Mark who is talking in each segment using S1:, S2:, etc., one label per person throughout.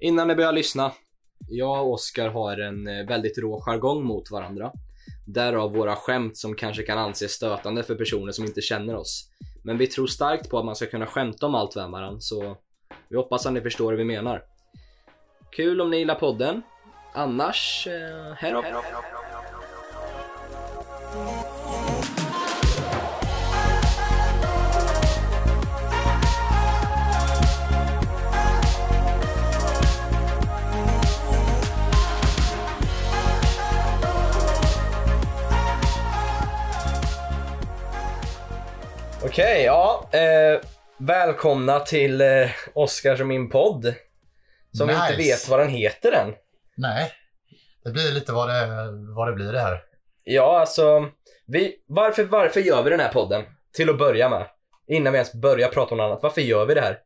S1: Innan ni börjar lyssna. Jag och Oskar har en eh, väldigt rå jargong mot varandra. Därav våra skämt som kanske kan anses stötande för personer som inte känner oss. Men vi tror starkt på att man ska kunna skämta om allt med varandra, så vi hoppas att ni förstår vad vi menar. Kul om ni gillar podden. Annars, eh, här upp. Okej, ja. Eh, välkomna till eh, Oskars och min podd. Som vi inte
S2: Nice.
S1: vet vad den heter än.
S2: Nej, det blir lite vad det, vad det blir det här.
S1: Ja, alltså. Vi, varför, varför gör vi den här podden? Till att börja med. Innan vi ens börjar prata om något annat. Varför gör vi det här?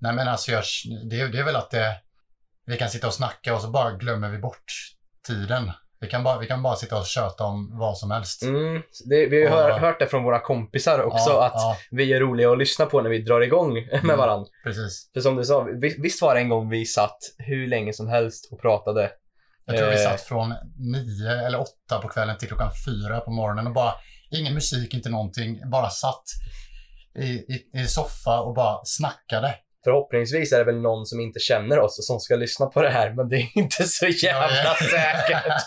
S2: Nej men alltså jag, det, är- det är väl att det, vi kan sitta och snacka och så bara glömmer vi bort tiden. Vi kan bara, vi kan bara sitta och köta om vad som helst.
S1: Mm, det, vi har ju
S2: Ja.
S1: hör, hört det från våra kompisar också.
S2: ja,
S1: att
S2: ja,
S1: vi är roliga att lyssna på när vi drar igång med
S2: Ah, Mm.
S1: varandra.
S2: precis.
S1: För som du sa, vi- visst var det en gång vi satt hur länge som helst och pratade.
S2: Jag tror vi
S1: Eh.
S2: satt från nio eller åtta på kvällen till klockan fyra på morgonen och bara ingen musik, inte någonting. Bara satt i, i, i soffa och bara snackade.
S1: Förhoppningsvis är det väl någon som inte känner oss och som ska lyssna på det här, men det är inte så jävla säkert.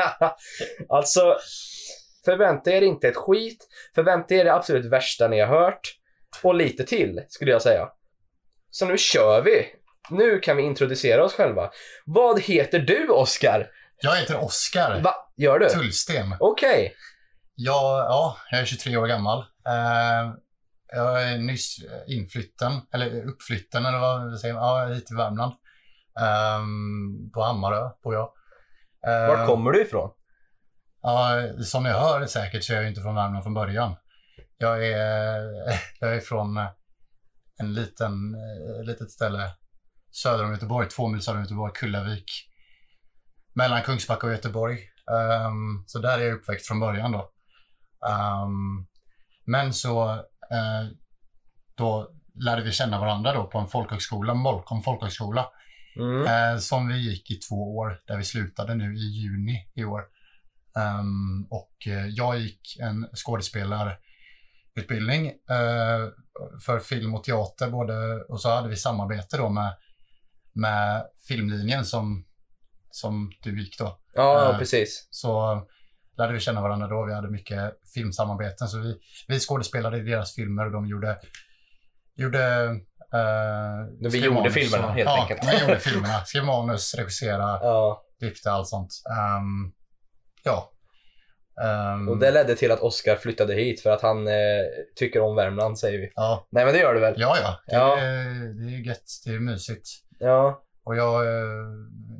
S1: alltså, förvänta er inte ett skit. Förvänta er det absolut värsta ni har hört. Och lite till, skulle jag säga. Så nu kör vi! Nu kan vi introducera oss själva. Vad heter du, Oskar?
S2: jag heter Oskar
S1: Va? Gör du?
S2: Tullsten.
S1: Okej.
S2: Jag, ja, jag är 23 år gammal. Eh, jag är nyss inflytten, eller uppflytten eller vad säger man, ja, hit till Värmland. Ehm, på Hammarö bor jag. Uh,
S1: Var kommer du ifrån?
S2: Ja, som ni hör säkert så är jag ju inte från Värmland från början. Jag är, jag är från eh, en liten, eh, litet ställe söder om Göteborg, två mil söder om Göteborg, Kullavik. Mellan Kungsbacka och Göteborg. Ehm, så där är jag uppväxt från början då. Ehm, men så eh, då lärde vi känna varandra då på en folkhögskola, Molkom folkhögskola.
S1: Mm.
S2: Eh, som vi gick i två år, där vi slutade nu i juni i år. Ehm, och eh, jag gick en skådespelarutbildning eh, för film och teater både, och så hade vi samarbete då med, med filmlinjen som, som du gick då.
S1: Ja,
S2: eh,
S1: precis.
S2: Så lärde vi känna varandra då. Vi hade mycket filmsamarbeten. Så vi, vi skådespelade i deras filmer och de gjorde... gjorde eh,
S1: Vi
S2: skrev
S1: gjorde filmerna, helt
S2: ja,
S1: enkelt.
S2: vi gjorde filmerna. Skrev manus, regissera,
S1: Ja.
S2: klippte, allt sånt. Ehm, ja. Ehm,
S1: Och det ledde till att Oskar flyttade hit för att han eh, tycker om Värmland, säger vi.
S2: ja.
S1: Nej, men det gör du väl?
S2: Ja, ja. Det,
S1: Ja.
S2: Är, det är gött. Det är mysigt.
S1: Ja.
S2: Och jag, eh,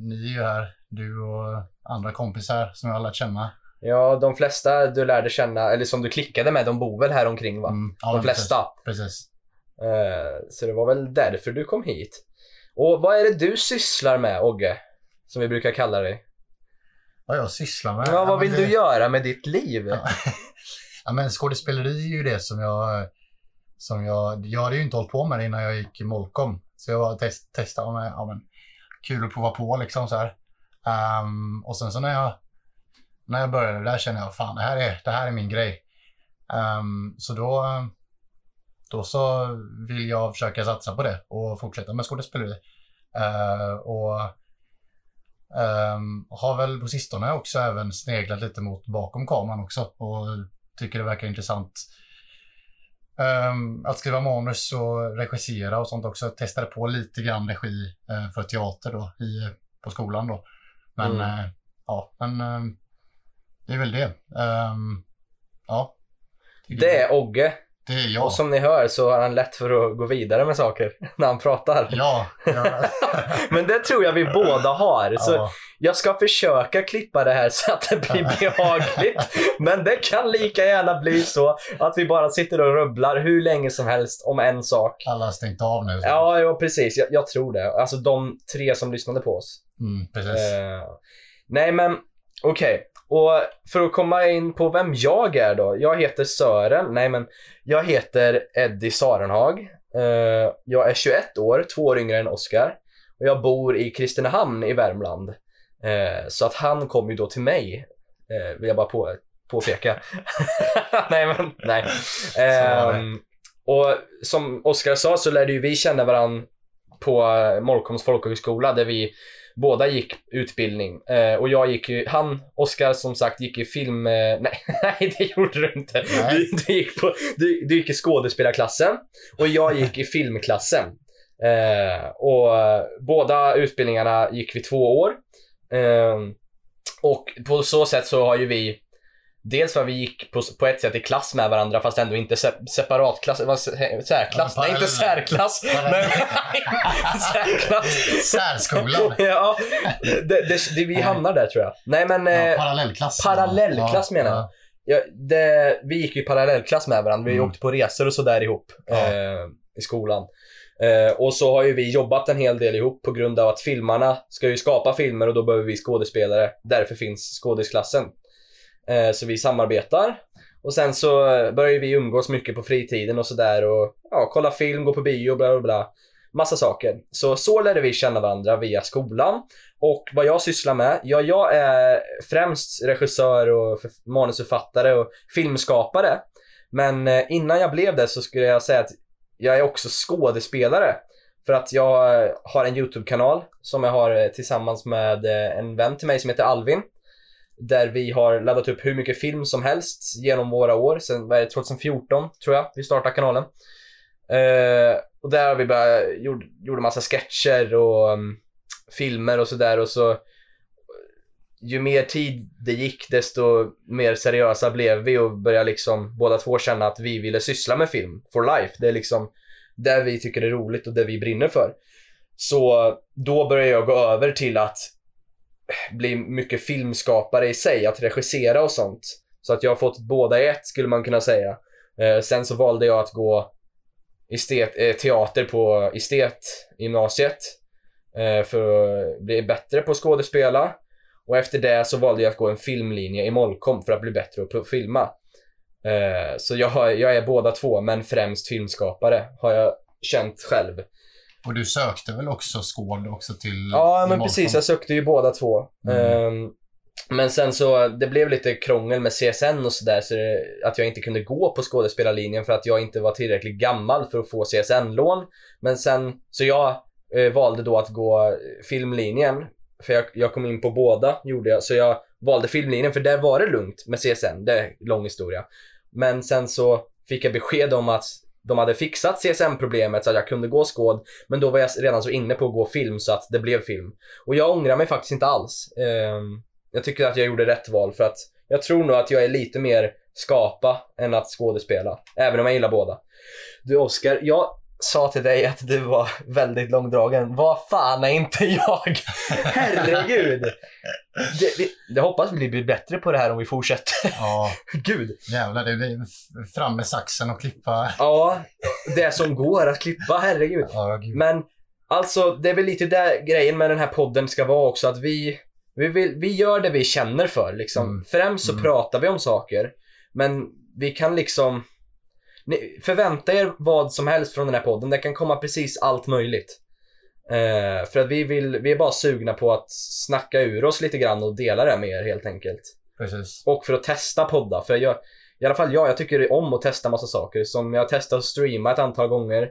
S2: ni är ju här, du och andra kompisar som jag har lärt känna.
S1: Ja, de flesta du lärde känna, eller som du klickade med, de bor väl här omkring va?
S2: Mm, ja,
S1: De
S2: men
S1: flesta.
S2: Precis. precis.
S1: Eh, så det var väl därför du kom hit. Och vad är det du sysslar med, Ogge? Som vi brukar kalla dig.
S2: Vad jag sysslar med?
S1: Ja, vad
S2: men
S1: vill
S2: det-
S1: du göra med ditt liv?
S2: Ja. Ja, men skådespeleri är ju det som jag... Som jag, jag hade ju inte hållit på med det innan jag gick i Molkom. Så jag var test, testade om ja, men, kul att prova på liksom så här. Ehm, och sen så när jag, när jag började där kände jag fan det här är, det här är min grej. Ehm, så då, då så vill jag försöka satsa på det och fortsätta med skådespeleri. Eh, och ehm, har väl på sistone också även sneglat lite mot bakom kameran också och tycker det verkar intressant ehm, att skriva manus och regissera och sånt också. Testade på lite grann regi eh, för teater då i, på skolan då. Men
S1: Mm.
S2: eh, ja, men ehm, det är väl det. Ehm, ja.
S1: Det är Ogge.
S2: det är jag.
S1: Och som ni hör så har han lätt för att gå vidare med saker när han pratar.
S2: Ja. ja.
S1: Men det tror jag vi båda har. Så
S2: ja.
S1: Jag ska försöka klippa det här så att det blir behagligt. Men det kan lika gärna bli så att vi bara sitter och rubblar hur länge som helst om en sak.
S2: Alla har stängt av nu. så-
S1: Ja, ja precis. Jag, jag tror det. Alltså de tre som lyssnade på oss.
S2: Mm, precis.
S1: Eh, nej, men okej. Och för att komma in på vem jag är då. Jag heter Sören. Nej, men jag heter Eddie Sarenhag. Eh, jag är 21 år, två år yngre än Oscar. Och jag bor i Kristinehamn i Värmland. Eh, så att han kom ju då till mig, eh, vill jag bara på, påpeka. nej, men nej.
S2: var det.
S1: Ehm, och som Oscar sa så lärde ju vi känna varandra på eh, Molkoms folkhögskola där vi båda gick utbildning. Eh, och jag gick ju, han, Oscar som sagt, gick i film... Eh, nej, nej, det gjorde du inte.
S2: Nej.
S1: Du, du, gick på, du, du gick i skådespelarklassen och jag gick i filmklassen. Eh, och eh, båda utbildningarna gick vi två år. Ehm, och på så sätt så har ju vi Dels för att vi gick på, på ett sätt i klass med varandra fast ändå inte se, separat klass, vad sä- särklass,
S2: Ja,
S1: nej inte
S2: parallella.
S1: särklass, men
S2: Parallella.
S1: särklass.
S2: Särskolan.
S1: ja, det, det, det, vi hamnar där tror jag. Nej men,
S2: Ja,
S1: eh,
S2: parallellklass.
S1: parallellklass menar jag. ja, det, vi gick ju i parallellklass med varandra. Vi
S2: Mm.
S1: åkte på resor och sådär ihop
S2: Ja.
S1: eh, i skolan. Eh, och så har ju vi jobbat en hel del ihop på grund av att filmarna ska ju skapa filmer och då behöver vi skådespelare. Därför finns skådisklassen. Eh, så vi samarbetar. Och sen så eh, börjar ju vi umgås mycket på fritiden och sådär och ja, kolla film, gå på bio, bla bla bla. Massa saker. Så så lärde vi känna varandra via skolan. Och vad jag sysslar med? Ja, jag är främst regissör och förf- manusförfattare och filmskapare. Men eh, innan jag blev det så skulle jag säga att jag är också skådespelare. För att jag eh, har en YouTube-kanal som jag har eh, tillsammans med eh, en vän till mig som heter Alvin. Där vi har laddat upp hur mycket film som helst genom våra år. Sen vad är det, 2014 tror jag vi startade kanalen. Eh, och där har vi bara gjort, gjorde massa sketcher och mm, filmer och sådär och så ju mer tid det gick desto mer seriösa blev vi och började liksom båda två känna att vi ville syssla med film for life. Det är liksom det vi tycker är roligt och det vi brinner för. Så då började jag gå över till att bli mycket filmskapare i sig, att regissera och sånt. Så att jag har fått båda i ett skulle man kunna säga. Eh, sen så valde jag att gå estet, eh, teater på estetgymnasiet eh, för att bli bättre på att skådespela. Och efter det så valde jag att gå en filmlinje i Molkom för att bli bättre på att filma. Eh, så jag, har, jag är båda två, men främst filmskapare har jag känt själv.
S2: Och du sökte väl också skåd också till...
S1: Ja,
S2: till
S1: men
S2: Molkom?
S1: precis. Jag sökte ju båda två.
S2: Mm.
S1: Ehm, men sen så, det blev lite krångel med CSN och sådär, så det- att jag inte kunde gå på skådespelarlinjen för att jag inte var tillräckligt gammal för att få CSN-lån. Men sen, så jag eh, valde då att gå filmlinjen, för jag, jag kom in på båda, gjorde jag. Så jag valde filmlinjen, för där var det lugnt med CSN. Det är en lång historia. Men sen så fick jag besked om att de hade fixat CSN-problemet så att jag kunde gå skåd, men då var jag redan så inne på att gå film så att det blev film. Och jag ångrar mig faktiskt inte alls. Ehm, jag tycker att jag gjorde rätt val för att jag tror nog att jag är lite mer skapa än att skådespela. Även om jag gillar båda. Du Oscar, jag sa till dig att du var väldigt långdragen. Vad fan är inte jag? Herregud! Det, vi, jag hoppas vi blir bättre på det här om vi fortsätter.
S2: Ja,
S1: Gud.
S2: jävlar. Det blir f- fram med saxen och klippa.
S1: Ja, det som går att klippa, herregud.
S2: Ja, gud.
S1: Men alltså, det är väl lite där grejen med den här podden ska vara också. Att vi, vi, vill, vi gör det vi känner för. Liksom.
S2: Mm.
S1: Främst så
S2: Mm.
S1: pratar vi om saker. Men vi kan liksom... Ni, förvänta er vad som helst från den här podden. Det kan komma precis allt möjligt. Eh, för att vi, vill, vi är bara sugna på att snacka ur oss lite grann och dela det med er helt enkelt.
S2: Precis.
S1: Och för att testa poddar. För jag, I alla fall jag, jag tycker om att testa massa saker. Som jag har testat att streama ett antal gånger.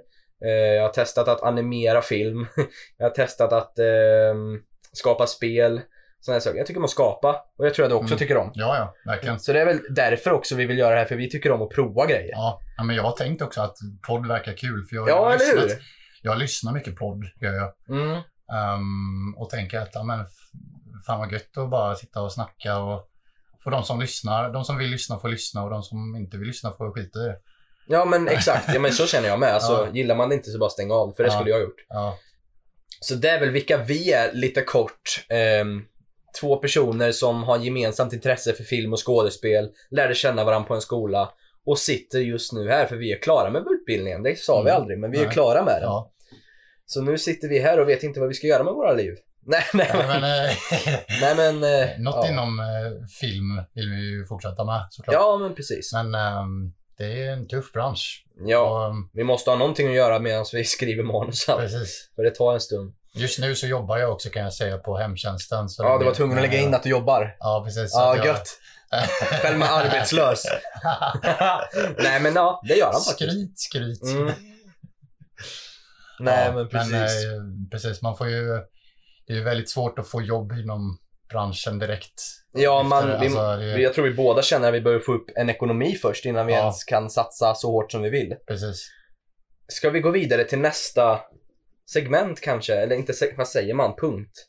S1: Eh, jag har testat att animera film. jag har testat att ehm, skapa spel. Sådana här saker. Jag tycker om att skapa. Och jag tror att du också
S2: Mm.
S1: tycker om.
S2: Ja, ja. Verkligen.
S1: Så det är väl därför också vi vill göra det här. För vi tycker om att prova grejer.
S2: Ja, ja, men jag har tänkt också att podd verkar kul. För jag, har
S1: Ja,
S2: ju
S1: eller
S2: lyssnat-
S1: hur?
S2: Jag lyssnar mycket podd, gör jag.
S1: Mm.
S2: Ehm, och tänker att ja, men, f- fan vad gött att bara sitta och snacka. Och, för de som lyssnar, de som vill lyssna får lyssna och de som inte vill lyssna får skita i det.
S1: Ja men exakt. Ja, men så känner jag med. Alltså,
S2: Ja.
S1: Gillar man det inte så bara stäng av. För det
S2: Ja.
S1: skulle jag ha gjort.
S2: Ja,
S1: Så det är väl vilka vi är lite kort. Ehm, två personer som har gemensamt intresse för film och skådespel, lärde känna varandra på en skola och sitter just nu här för vi är klara med utbildningen. Det sa vi
S2: Mm.
S1: aldrig, men vi är
S2: Nej.
S1: klara med den.
S2: ja.
S1: Så nu sitter vi här och vet inte vad vi ska göra med våra liv. Nej, nej,
S2: ja
S1: men,
S2: men, eh,
S1: nej, men eh,
S2: något
S1: ja.
S2: inom eh, film vill vi ju fortsätta med såklart.
S1: Ja, men precis.
S2: Men ehm, Det är en tuff bransch.
S1: Ja,
S2: Och, um,
S1: vi måste ha någonting att göra medan vi skriver manus här.
S2: precis.
S1: För det tar en stund.
S2: Just nu så jobbar jag också kan jag säga på hemtjänsten. Så
S1: Ja, du
S2: blir-
S1: var tvungen att lägga in att du jobbar.
S2: Ja, precis. Så
S1: Ja,
S2: att jag-
S1: gött. Själv med arbetslös. Nej, men ja, det gör han faktiskt.
S2: skryt, skryt.
S1: Mm. Nej,
S2: Ja,
S1: men precis.
S2: eh, precis, man får ju... Det är ju väldigt svårt att få jobb inom branschen direkt.
S1: Ja,
S2: efter-
S1: man, vi,
S2: alltså, det,
S1: vi- jag tror vi båda känner att vi behöver få upp en ekonomi först innan vi
S2: Ja.
S1: ens kan satsa så hårt som vi vill.
S2: Precis.
S1: Ska vi gå vidare till nästa segment kanske? Eller inte, se- vad säger man? Punkt.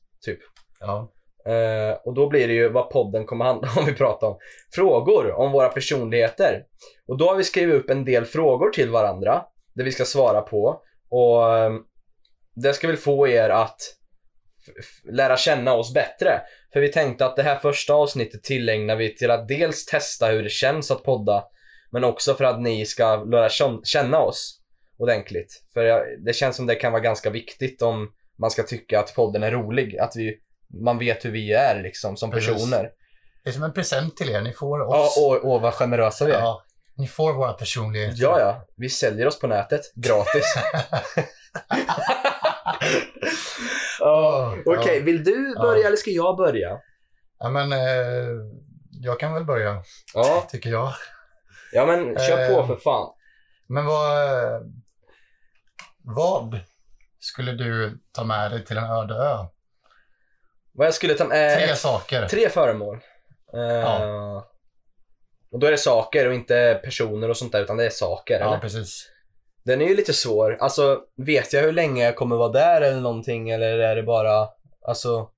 S2: Ja.
S1: Eh, och då blir det ju vad podden kommer handla om vi pratar om. Frågor om våra personligheter. Och då har vi skrivit upp en del frågor till varandra. Där vi ska svara på. Och eh, det ska väl få er att f- f- lära känna oss bättre. För vi tänkte att det här första avsnittet tillägnar vi till att dels testa hur det känns att podda. Men också för att ni ska lära kän- känna oss ordentligt. För jag, det känns som det kan vara ganska viktigt om man ska tycka att podden är rolig. Att vi man vet hur vi är liksom som
S2: Precis.
S1: personer.
S2: Det är som en present till er. Ni får
S1: Ja,
S2: oss.
S1: och, och vad generösa vi är. Ja.
S2: Ja, ni får våra personligheter.
S1: ja, Vi säljer oss på nätet gratis. Ja, Okej,
S2: Ja.
S1: vill du
S2: Ja.
S1: börja eller ska jag börja?
S2: Ja, men eh, jag kan väl börja,
S1: Ja,
S2: tycker jag.
S1: ja men kör på
S2: Eh.
S1: för fan.
S2: Men vad... eh, Vad skulle du ta med dig till en öde ö?
S1: Vad jag skulle ta med?
S2: Tre
S1: Tre,
S2: saker.
S1: Eh, tre föremål. Eh,
S2: Ja.
S1: Och då är det saker och inte personer och sånt där utan det är saker.
S2: Ja,
S1: eller?
S2: precis.
S1: Den är ju lite svår. Alltså, vet jag hur länge jag kommer vara där eller någonting eller är det bara, alltså,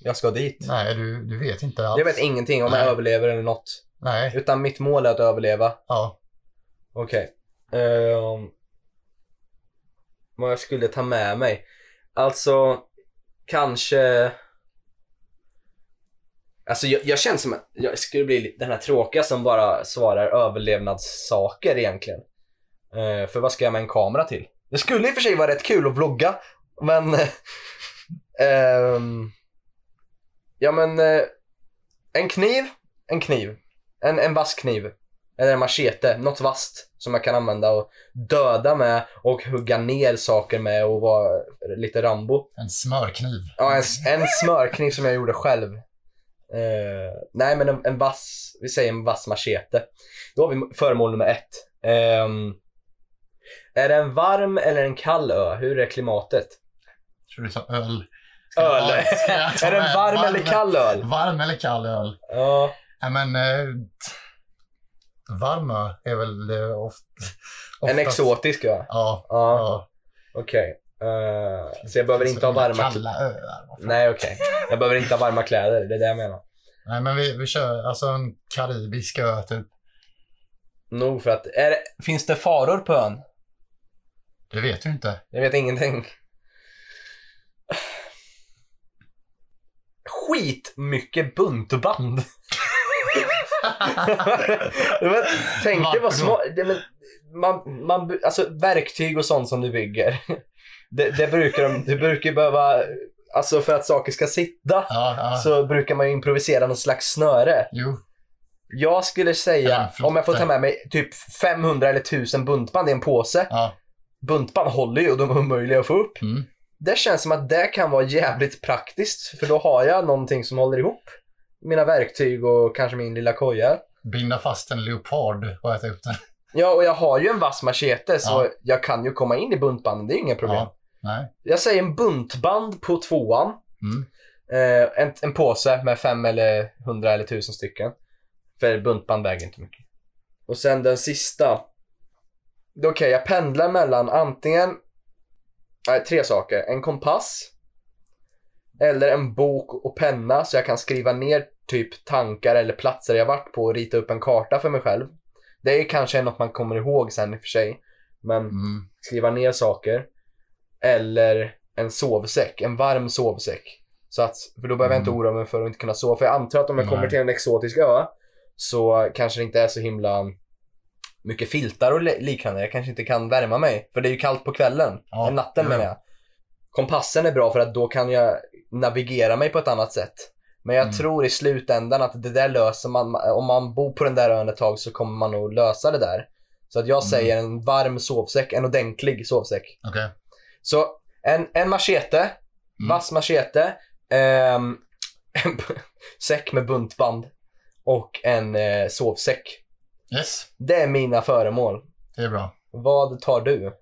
S1: jag ska dit?
S2: Nej, du, du vet inte alls.
S1: Jag vet ingenting om jag
S2: Nej.
S1: överlever eller något.
S2: Nej,
S1: Utan mitt mål är att överleva.
S2: ja.
S1: Okej. Ehm, vad jag skulle ta med mig? Alltså, kanske... Alltså jag, jag känns som att jag skulle bli lite- den här tråkiga som bara svarar överlevnadssaker egentligen. Eh, för vad ska jag med en kamera till? Det skulle i och för sig vara rätt kul att vlogga, men... ehm, ja men, eh, en kniv, en kniv. En, en vass kniv. Eller en machete, något vasst som jag kan använda och döda med och hugga ner saker med och vara lite Rambo.
S2: En smörkniv.
S1: Ja, en, en smörkniv som jag gjorde själv. Eh, nej, men en, en vass, vi säger en vass machete. Då har vi föremål nummer ett. Ehm, är det en varm eller en kall ö? Hur är klimatet?
S2: Tror du sa öl? Ska jag
S1: Öl!
S2: ta- ska jag ta
S1: är det
S2: med
S1: en varm eller kall öl?
S2: Varm eller kall öl?
S1: Ja,
S2: Nej, men... Eh, varm öl är väl eh, oft,
S1: en
S2: oftast...
S1: exotisk ö?
S2: Ja.
S1: Ja,
S2: ja.
S1: okej. Eh, så jag behöver inte ha varma typ. kläder?
S2: Kalla öar. vad fan.
S1: Nej, okej. Jag behöver inte ha varma kläder, det är det jag menar.
S2: Nej, men vi, vi kör alltså en karibisk ö typ.
S1: Nog för att, är det, finns det faror på ön?
S2: Det vet du inte.
S1: Jag vet ingenting. Skit mycket buntband. Det var- Tänk dig vad
S2: Varför
S1: små...
S2: då?
S1: det- men Man, man, by- alltså verktyg och sånt som du bygger. Det, det brukar de, du brukar ju behöva, alltså för att saker ska sitta
S2: ja, ja.
S1: så brukar man ju improvisera någon slags snöre.
S2: Jo,
S1: Jag skulle
S2: Ja,
S1: säga,
S2: förlåt.
S1: om jag får ta med mig typ 500 eller 1000 buntband i en påse.
S2: ja.
S1: Buntband håller ju och de är omöjliga att få upp.
S2: Mm.
S1: Det känns som att det kan vara jävligt praktiskt för då har jag någonting som håller ihop mina verktyg och kanske min lilla koja.
S2: Binda fast en leopard och äta upp den.
S1: Ja, och jag har ju en vass machete så
S2: Ja.
S1: jag kan ju komma in i buntbanden, det är ju inga problem.
S2: Ja. Nej.
S1: Jag säger en buntband på tvåan.
S2: Mm.
S1: Eh, en, en påse med fem eller hundra eller tusen stycken. För buntband väger inte mycket. Och sen den sista. Det är Okej, jag pendlar mellan antingen nej, tre saker. En kompass. Eller en bok och penna så jag kan skriva ner typ tankar eller platser jag varit på och rita upp en karta för mig själv. Det är kanske något man kommer ihåg sen i och för sig. Men
S2: Mm.
S1: skriva ner saker. Eller en sovsäck, en varm sovsäck. Så att, för då behöver jag inte
S2: Mm.
S1: oroa mig för att inte kunna sova. För jag antar att om jag kommer
S2: Nej.
S1: till en exotisk ö så kanske det inte är så himla mycket filtar och li- liknande. Jag kanske inte kan värma mig. För det är ju kallt på kvällen.
S2: Ja,
S1: Eh, natten
S2: jo,
S1: menar
S2: jo.
S1: jag. Kompassen är bra för att då kan jag navigera mig på ett annat sätt. Men jag
S2: Mm.
S1: tror i slutändan att det där löser man. Om man bor på den där ön ett tag så kommer man nog lösa det där. Så att jag säger en varm sovsäck, en ordentlig sovsäck.
S2: Okej.
S1: Så en, en machete, vass machete, ehm, en b- säck med buntband och en eh, sovsäck.
S2: Yes,
S1: Det är mina föremål.
S2: det är bra.
S1: Vad tar du?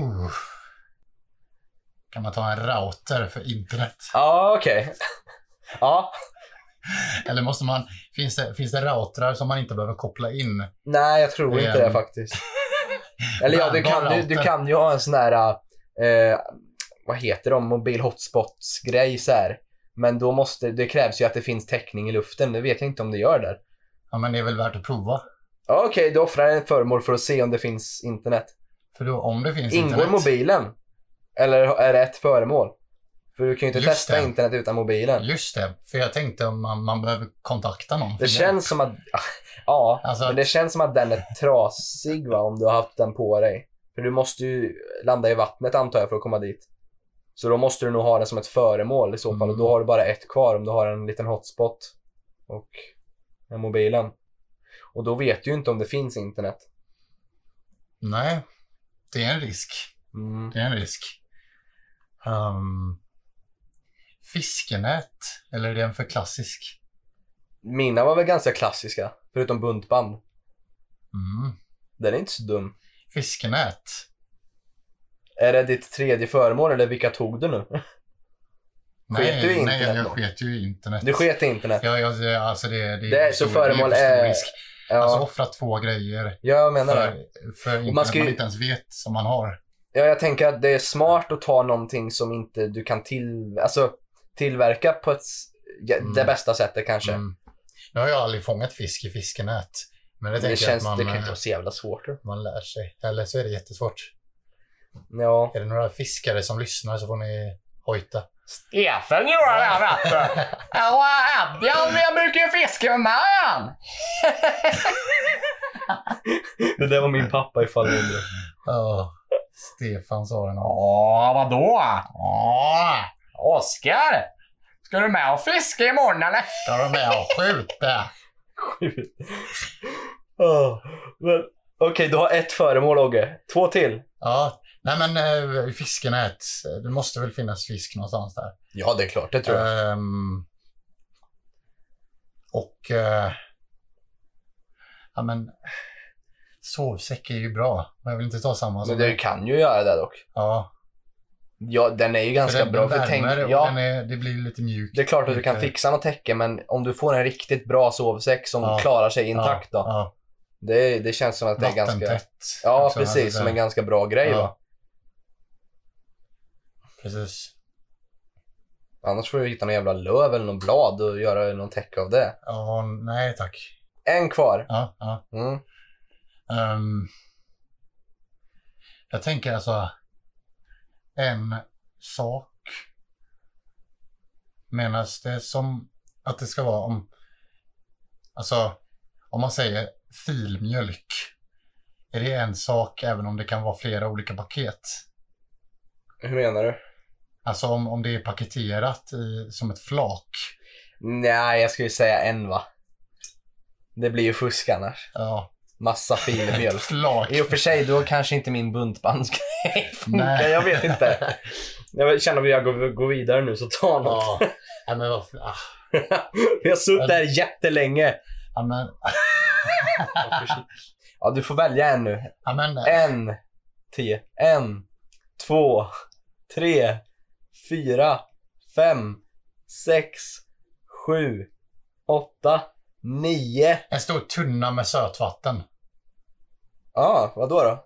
S2: Uh. Kan man ta en router för internet?
S1: Ja, okej. ja,
S2: Eller måste man, finns, det, finns det routrar som man inte behöver koppla in?
S1: nej jag tror inte det
S2: Ehm.
S1: faktiskt. Eller ja, du
S2: Bärbar
S1: kan, du, du
S2: router.
S1: kan ju ha en sån här, eh, vad heter de, mobil hotspots-grej så här. Men då måste, det krävs ju att det finns täckning i luften. Det vet jag inte om det gör där.
S2: Ja, men det är väl värt att prova.
S1: Ja, Okej, du offrar en föremål för att se om det finns internet.
S2: För då, om det finns
S1: Ingår
S2: internet.
S1: mobilen? Eller är det ett föremål? För du kan ju inte
S2: Just
S1: testa
S2: det.
S1: internet utan mobilen.
S2: Just det, för jag tänkte om man, man behöver kontakta någon. för
S1: Det känns som att... Ja,
S2: Alltså
S1: men
S2: att-
S1: det känns som att den är trasig va, om du har haft den på dig. För du måste ju landa i vattnet antar jag för att komma dit. Så då måste du nog ha den som ett föremål i så fall. Och då
S2: Mm.
S1: har du bara ett kvar om du har en liten hotspot och en mobilen. Och då vet du ju inte om det finns internet.
S2: Nej, det är en risk.
S1: Mm.
S2: Det är en risk. Ehm, fiskenät, eller är den för klassisk?
S1: Mina var väl ganska klassiska, förutom buntband.
S2: Mm.
S1: Den är inte så dum.
S2: Fiskenät.
S1: Är det ditt tredje föremål eller vilka tog du nu? Sket du i
S2: nej, jag,
S1: internet
S2: jag
S1: då?
S2: sket ju i internet.
S1: Du sket i internet.
S2: Ja, jag, det- alltså det, det,
S1: Det är så föremål
S2: det är... för stor
S1: är-
S2: risk.
S1: Ja,
S2: Alltså offra två grejer
S1: ja, jag menar det.
S2: för, för internet man,
S1: ska ju-
S2: inte ens vet som man har.
S1: Ja, jag tänker att det är smart att ta någonting som inte du kan till, alltså, tillverka på ett, s- ja,
S2: Mm.
S1: det bästa sättet kanske.
S2: Mm. Nu har jag aldrig fångat fisk i fiskenät. Men det,
S1: det
S2: tänker jag att
S1: känns,
S2: man,
S1: det kan inte
S2: eh,
S1: vara så jävla svårt. då.
S2: man lär sig. Eller så är det jättesvårt.
S1: Ja.
S2: Är det några fiskare som lyssnar så får ni hojta.
S3: Stefan gjorde det vet du. Och Abjan, jag brukar ju fiska med Marian.
S1: Det där var min pappa ifall du undrar.
S2: Ja, Stefan sa det någon.
S3: Ja, vadå?
S2: Ja,
S3: Oskar, ska du med och fiska imorgon eller?
S2: ska du med och skjuta?
S1: Sjukt. Åh, men- Okej, du har ett föremål Ogge. Två till.
S2: Ja, nej men eh, fiskenät. Det måste väl finnas fisk någonstans där.
S1: Ja, det är klart. Det
S2: Ehm, och... eh, ja, men... Sovsäck är ju bra, men jag vill inte ta samma
S1: Men
S2: som...
S1: du kan ju göra det dock.
S2: Ja,
S1: Ja, den är ju
S2: för
S1: ganska
S2: den,
S1: bra.
S2: den
S1: För tänk,
S2: värmer och
S1: ja,
S2: den är, det blir lite mjukt.
S1: Det är klart att du kan
S2: Lite-
S1: fixa något täcke men om du får en riktigt bra sovsäck som
S2: Ja.
S1: klarar sig intakt då.
S2: Ja,
S1: Det, det känns som att det
S2: ja.
S1: är ganska...
S2: Vattentätt.
S1: Ja
S2: också,
S1: precis,
S2: alltså,
S1: som en ganska bra grej va.
S2: ja. Precis.
S1: Annars får du hitta någon jävla löv eller någon blad och göra någon täcke av det.
S2: Ja, nej tack.
S1: En kvar.
S2: Ja, ja.
S1: Mm.
S2: Ehm, jag tänker alltså en sak. Menas det som att det ska vara om, alltså om man säger filmjölk. Är det en sak även om det kan vara flera olika paket?
S1: Hur menar du?
S2: Alltså om, om det är paketerat i, som ett flak.
S1: Nej, jag skulle säga en va. Det blir ju fusk annars.
S2: Ja,
S1: Massa
S2: ett
S1: filmjölk.
S2: flak.
S1: I och för sig, då kanske inte min buntbandsgrej funkar.
S2: Nej.
S1: Jag vet inte. Jag känner att jag går, går vidare nu, så ta något.
S2: Ja, nej, men vad, ah,
S1: Vi har suttit här jättelänge.
S2: ja, men,
S1: Ja, du får välja en nu.
S2: ja, men,
S1: En, tio, en, två, tre, fyra, fem, sex, sju, åtta, nio.
S2: En stor tunna med sötvatten.
S1: Ja, ah, vad då? då?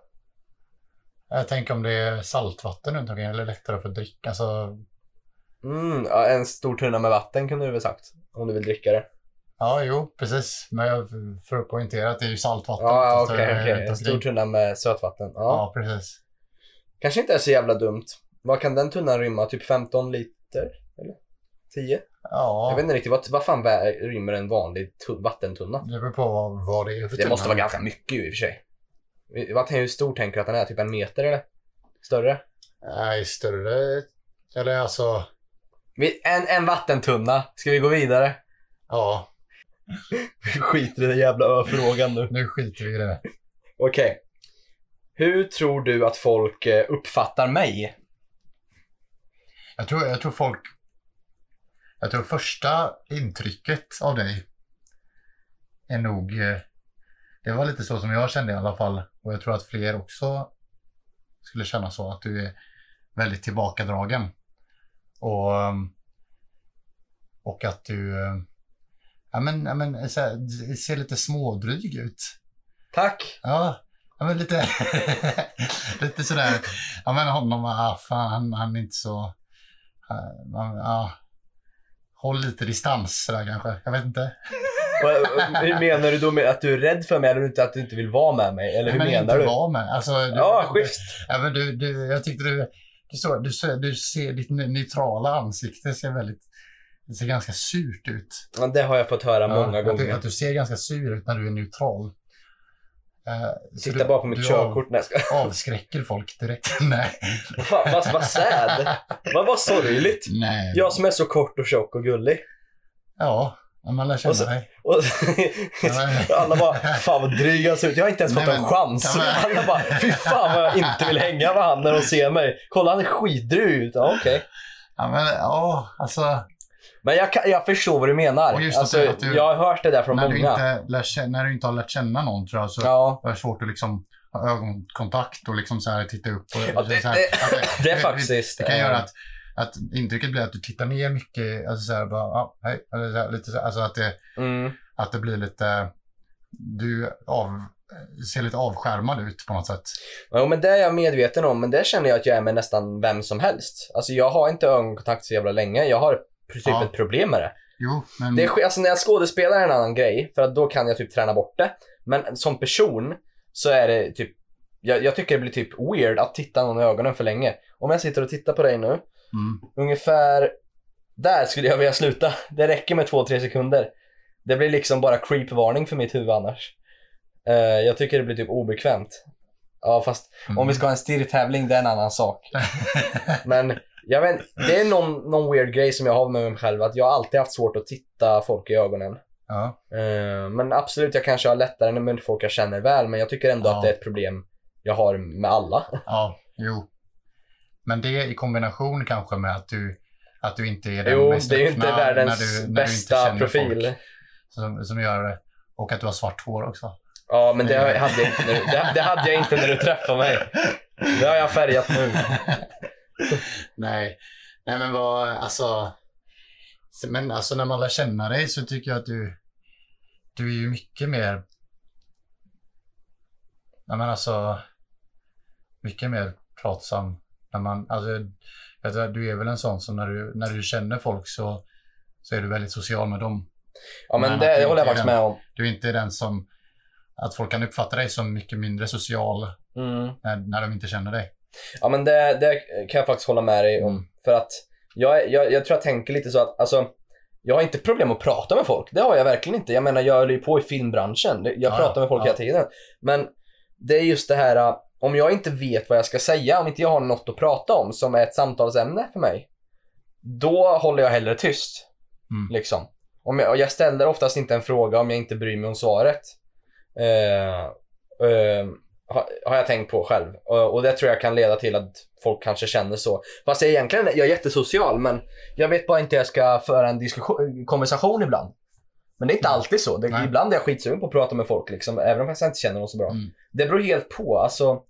S2: Jag tänker om det är saltvatten runt omkring eller lättare för att dricka. Alltså,
S1: Mm, ja, en stor tunna med vatten kunde du väl sagt. Om du vill dricka det.
S2: ja, jo, precis. Men jag, för att poängtera att det är ju saltvatten.
S1: Ja, ah,
S2: oftast,
S1: okej,
S2: eh, det är
S1: okej.
S2: runt
S1: En
S2: omkring.
S1: stor tunna med sötvatten. Ja.
S2: Ja, precis.
S1: Kanske inte är så jävla dumt. Vad kan den tunnan rymma? Typ 15 liter? Eller? 10? Jag
S2: Ja,
S1: vet inte riktigt. Vad, vad fan vä- rymmer en vanlig tu- vattentunna?
S2: det beror på vad, vad det är för typ.
S1: Det
S2: tunna.
S1: måste vara ganska mycket ju i och för sig. Vad tänker hur stor tänker du att den är? Typ en meter eller? Större?
S2: Nej, större. Eller alltså,
S1: Vi- En, en vattentunna. Ska vi gå vidare?
S2: ja.
S1: Vi skiter i den jävla ö-frågan nu.
S2: Nu skiter vi i det.
S4: Okej. Hur tror du att folk eh, uppfattar mig?
S2: Jag tror, jag tror folk... Jag tror första intrycket av dig är nog... eh, Det var lite så som jag kände i alla fall. Och jag tror att fler också skulle känna så. Att du är väldigt tillbakadragen. Och, ehm, och att du... eh, Ja men, ja, men så här, d- ser lite smådryg ut.
S4: Tack!
S2: Ja, ja men lite, lite sådär. Ja, men honom, ah, fan, han, han är inte så... eh, man- Ja, håll lite distans sådär kanske. Jag vet inte.
S1: Vad- eh, Hur menar du då med att du är rädd för mig eller inte att du inte vill vara med mig? Eller hur
S2: men
S1: menar du?
S2: inte vara med. Alltså, du,
S1: Ja, schysst.
S2: ja, men du, du, jag tyckte du... Du, så, du, ser- du ser ditt ne- neutrala ansikte ser väldigt... Det ser ganska surt ut.
S1: Ja, det har jag fått höra många
S2: att, du,
S1: gånger.
S2: att du ser ganska sur ut när du är neutral. Eh, så
S1: Titta
S2: du-
S1: bara på mitt
S2: du
S1: körkort när jag ska...
S2: Av, avskräcker folk direkt. Nej.
S1: Fan, vad, vad sad. Vad, vad sorgligt.
S2: Nej.
S1: Jag som är så kort och tjock och gullig.
S2: Ja, ja, man lär känna
S1: Och så-
S2: dig.
S1: Och
S2: men-
S1: alla bara, fan vad dryg han ser ut. Jag har inte ens
S2: Nej,
S1: fått en
S2: men-
S1: chans.
S2: Ja, men-
S1: Alla bara, fy fan vad jag inte vill hänga med han när de ser mig. Kolla han är skitdryg ut. Ja, okej.
S2: Ja, men ja, alltså.
S1: Men jag, kan, jag förstår vad du menar.
S2: Och just att
S1: Alltså,
S2: du- att du-
S1: jag har hört det där från
S2: När
S1: många.
S2: du, inte lär känna, när du inte har lärt känna någon tror jag så
S1: Ja.
S2: är det svårt att liksom ha ögonkontakt och liksom så här titta upp. Och,
S1: Ja, det,
S2: så här,
S1: det,
S2: att
S1: det är faktiskt...
S2: Det kan
S1: eh,
S2: göra att, att intrycket blir att du tittar ner mycket. Alltså så här bara, ja, hej. Eller så här, lite så här, alltså att det,
S1: Mm,
S2: att det blir lite, du av, ser lite avskärmad ut på något sätt.
S1: jo, men det är jag medveten om, men det känner jag att jag är med nästan vem som helst. Alltså jag har inte ögonkontakt så jävla länge. Jag har typ
S2: Ja.
S1: ett problem med det.
S2: Jo, men
S1: Det är, sk- alltså när jag skådespelar är en annan grej, för att då kan jag typ träna bort det. Men som person så är det typ, jag, jag tycker det blir typ weird att titta någon i ögonen för länge. Om jag sitter och tittar på dig nu,
S2: mm,
S1: ungefär där skulle jag vilja sluta. Det räcker med 2-3 sekunder. Det blir liksom bara creep-varning för mitt huvud annars. Eh, jag tycker det blir typ obekvämt. Ja fast
S2: mm,
S1: om vi ska ha en stirrtävling det är en annan sak. Men jag vet det är någon, någon weird grej som jag har med mig själv att jag har alltid haft svårt att titta folk i ögonen.
S2: ja,
S1: Eh, men absolut, jag kanske har lättare med folk jag känner väl, men jag tycker ändå
S2: Ja.
S1: att det är ett problem jag har med alla.
S2: ja, jo. Men det i kombination kanske med att du, att du inte är den
S1: jo,
S2: mest
S1: det är ju inte
S2: öppna
S1: världens
S2: när du- när du inte
S1: bästa
S2: känner
S1: profil.
S2: folk. som, som gör det. Och att du har svart hår också.
S1: Ja, men det hade, jag inte när, du- det, det hade jag inte när du träffade mig. Det har jag färgat nu.
S2: Nej. Nej men vad, alltså. Men alltså när man lär känna dig så tycker jag att du, du är ju mycket mer. Nej men alltså. Mycket mer pratsam. När man, alltså, vet du, du är väl en sån som när du, när du känner folk så, så är du väldigt social med dem.
S1: Ja, men
S2: Men att
S1: det
S2: du
S1: håller jag
S2: inte
S1: faktiskt
S2: är
S1: med om.
S2: Du är inte den som, att folk kan uppfatta dig som mycket mindre social
S1: Mm.
S2: när, när de inte känner dig.
S1: Ja, men det, det kan jag faktiskt hålla med dig om.
S2: Mm.
S1: För att jag, jag, jag tror jag tänker lite så att, alltså, jag har inte problem att prata med folk. Det har jag verkligen inte. Jag menar, jag höll ju på i filmbranschen. Det- Jag
S2: Ja,
S1: pratar med folk
S2: ja.
S1: hela tiden. Men det är just det här, äh, om jag inte vet vad jag ska säga, om inte jag har något att prata om som är ett samtalsämne för mig, då håller jag hellre tyst.
S2: Mm.
S1: Liksom. Om jag, och jag ställer oftast inte en fråga om jag inte bryr mig om svaret. Eh, eh, har, har jag tänkt på själv. Och, och det tror jag kan leda till att folk kanske känner så. Fast jag är egentligen jag är jättesocial men jag vet bara inte hur jag ska föra en diskussion, konversation ibland. Men det är inte alltid så. Det,
S2: Mm. Nej.
S1: ibland är jag skitsugen på att prata med folk liksom, även om jag inte känner dem så bra.
S2: Mm.
S1: Det beror helt på alltså,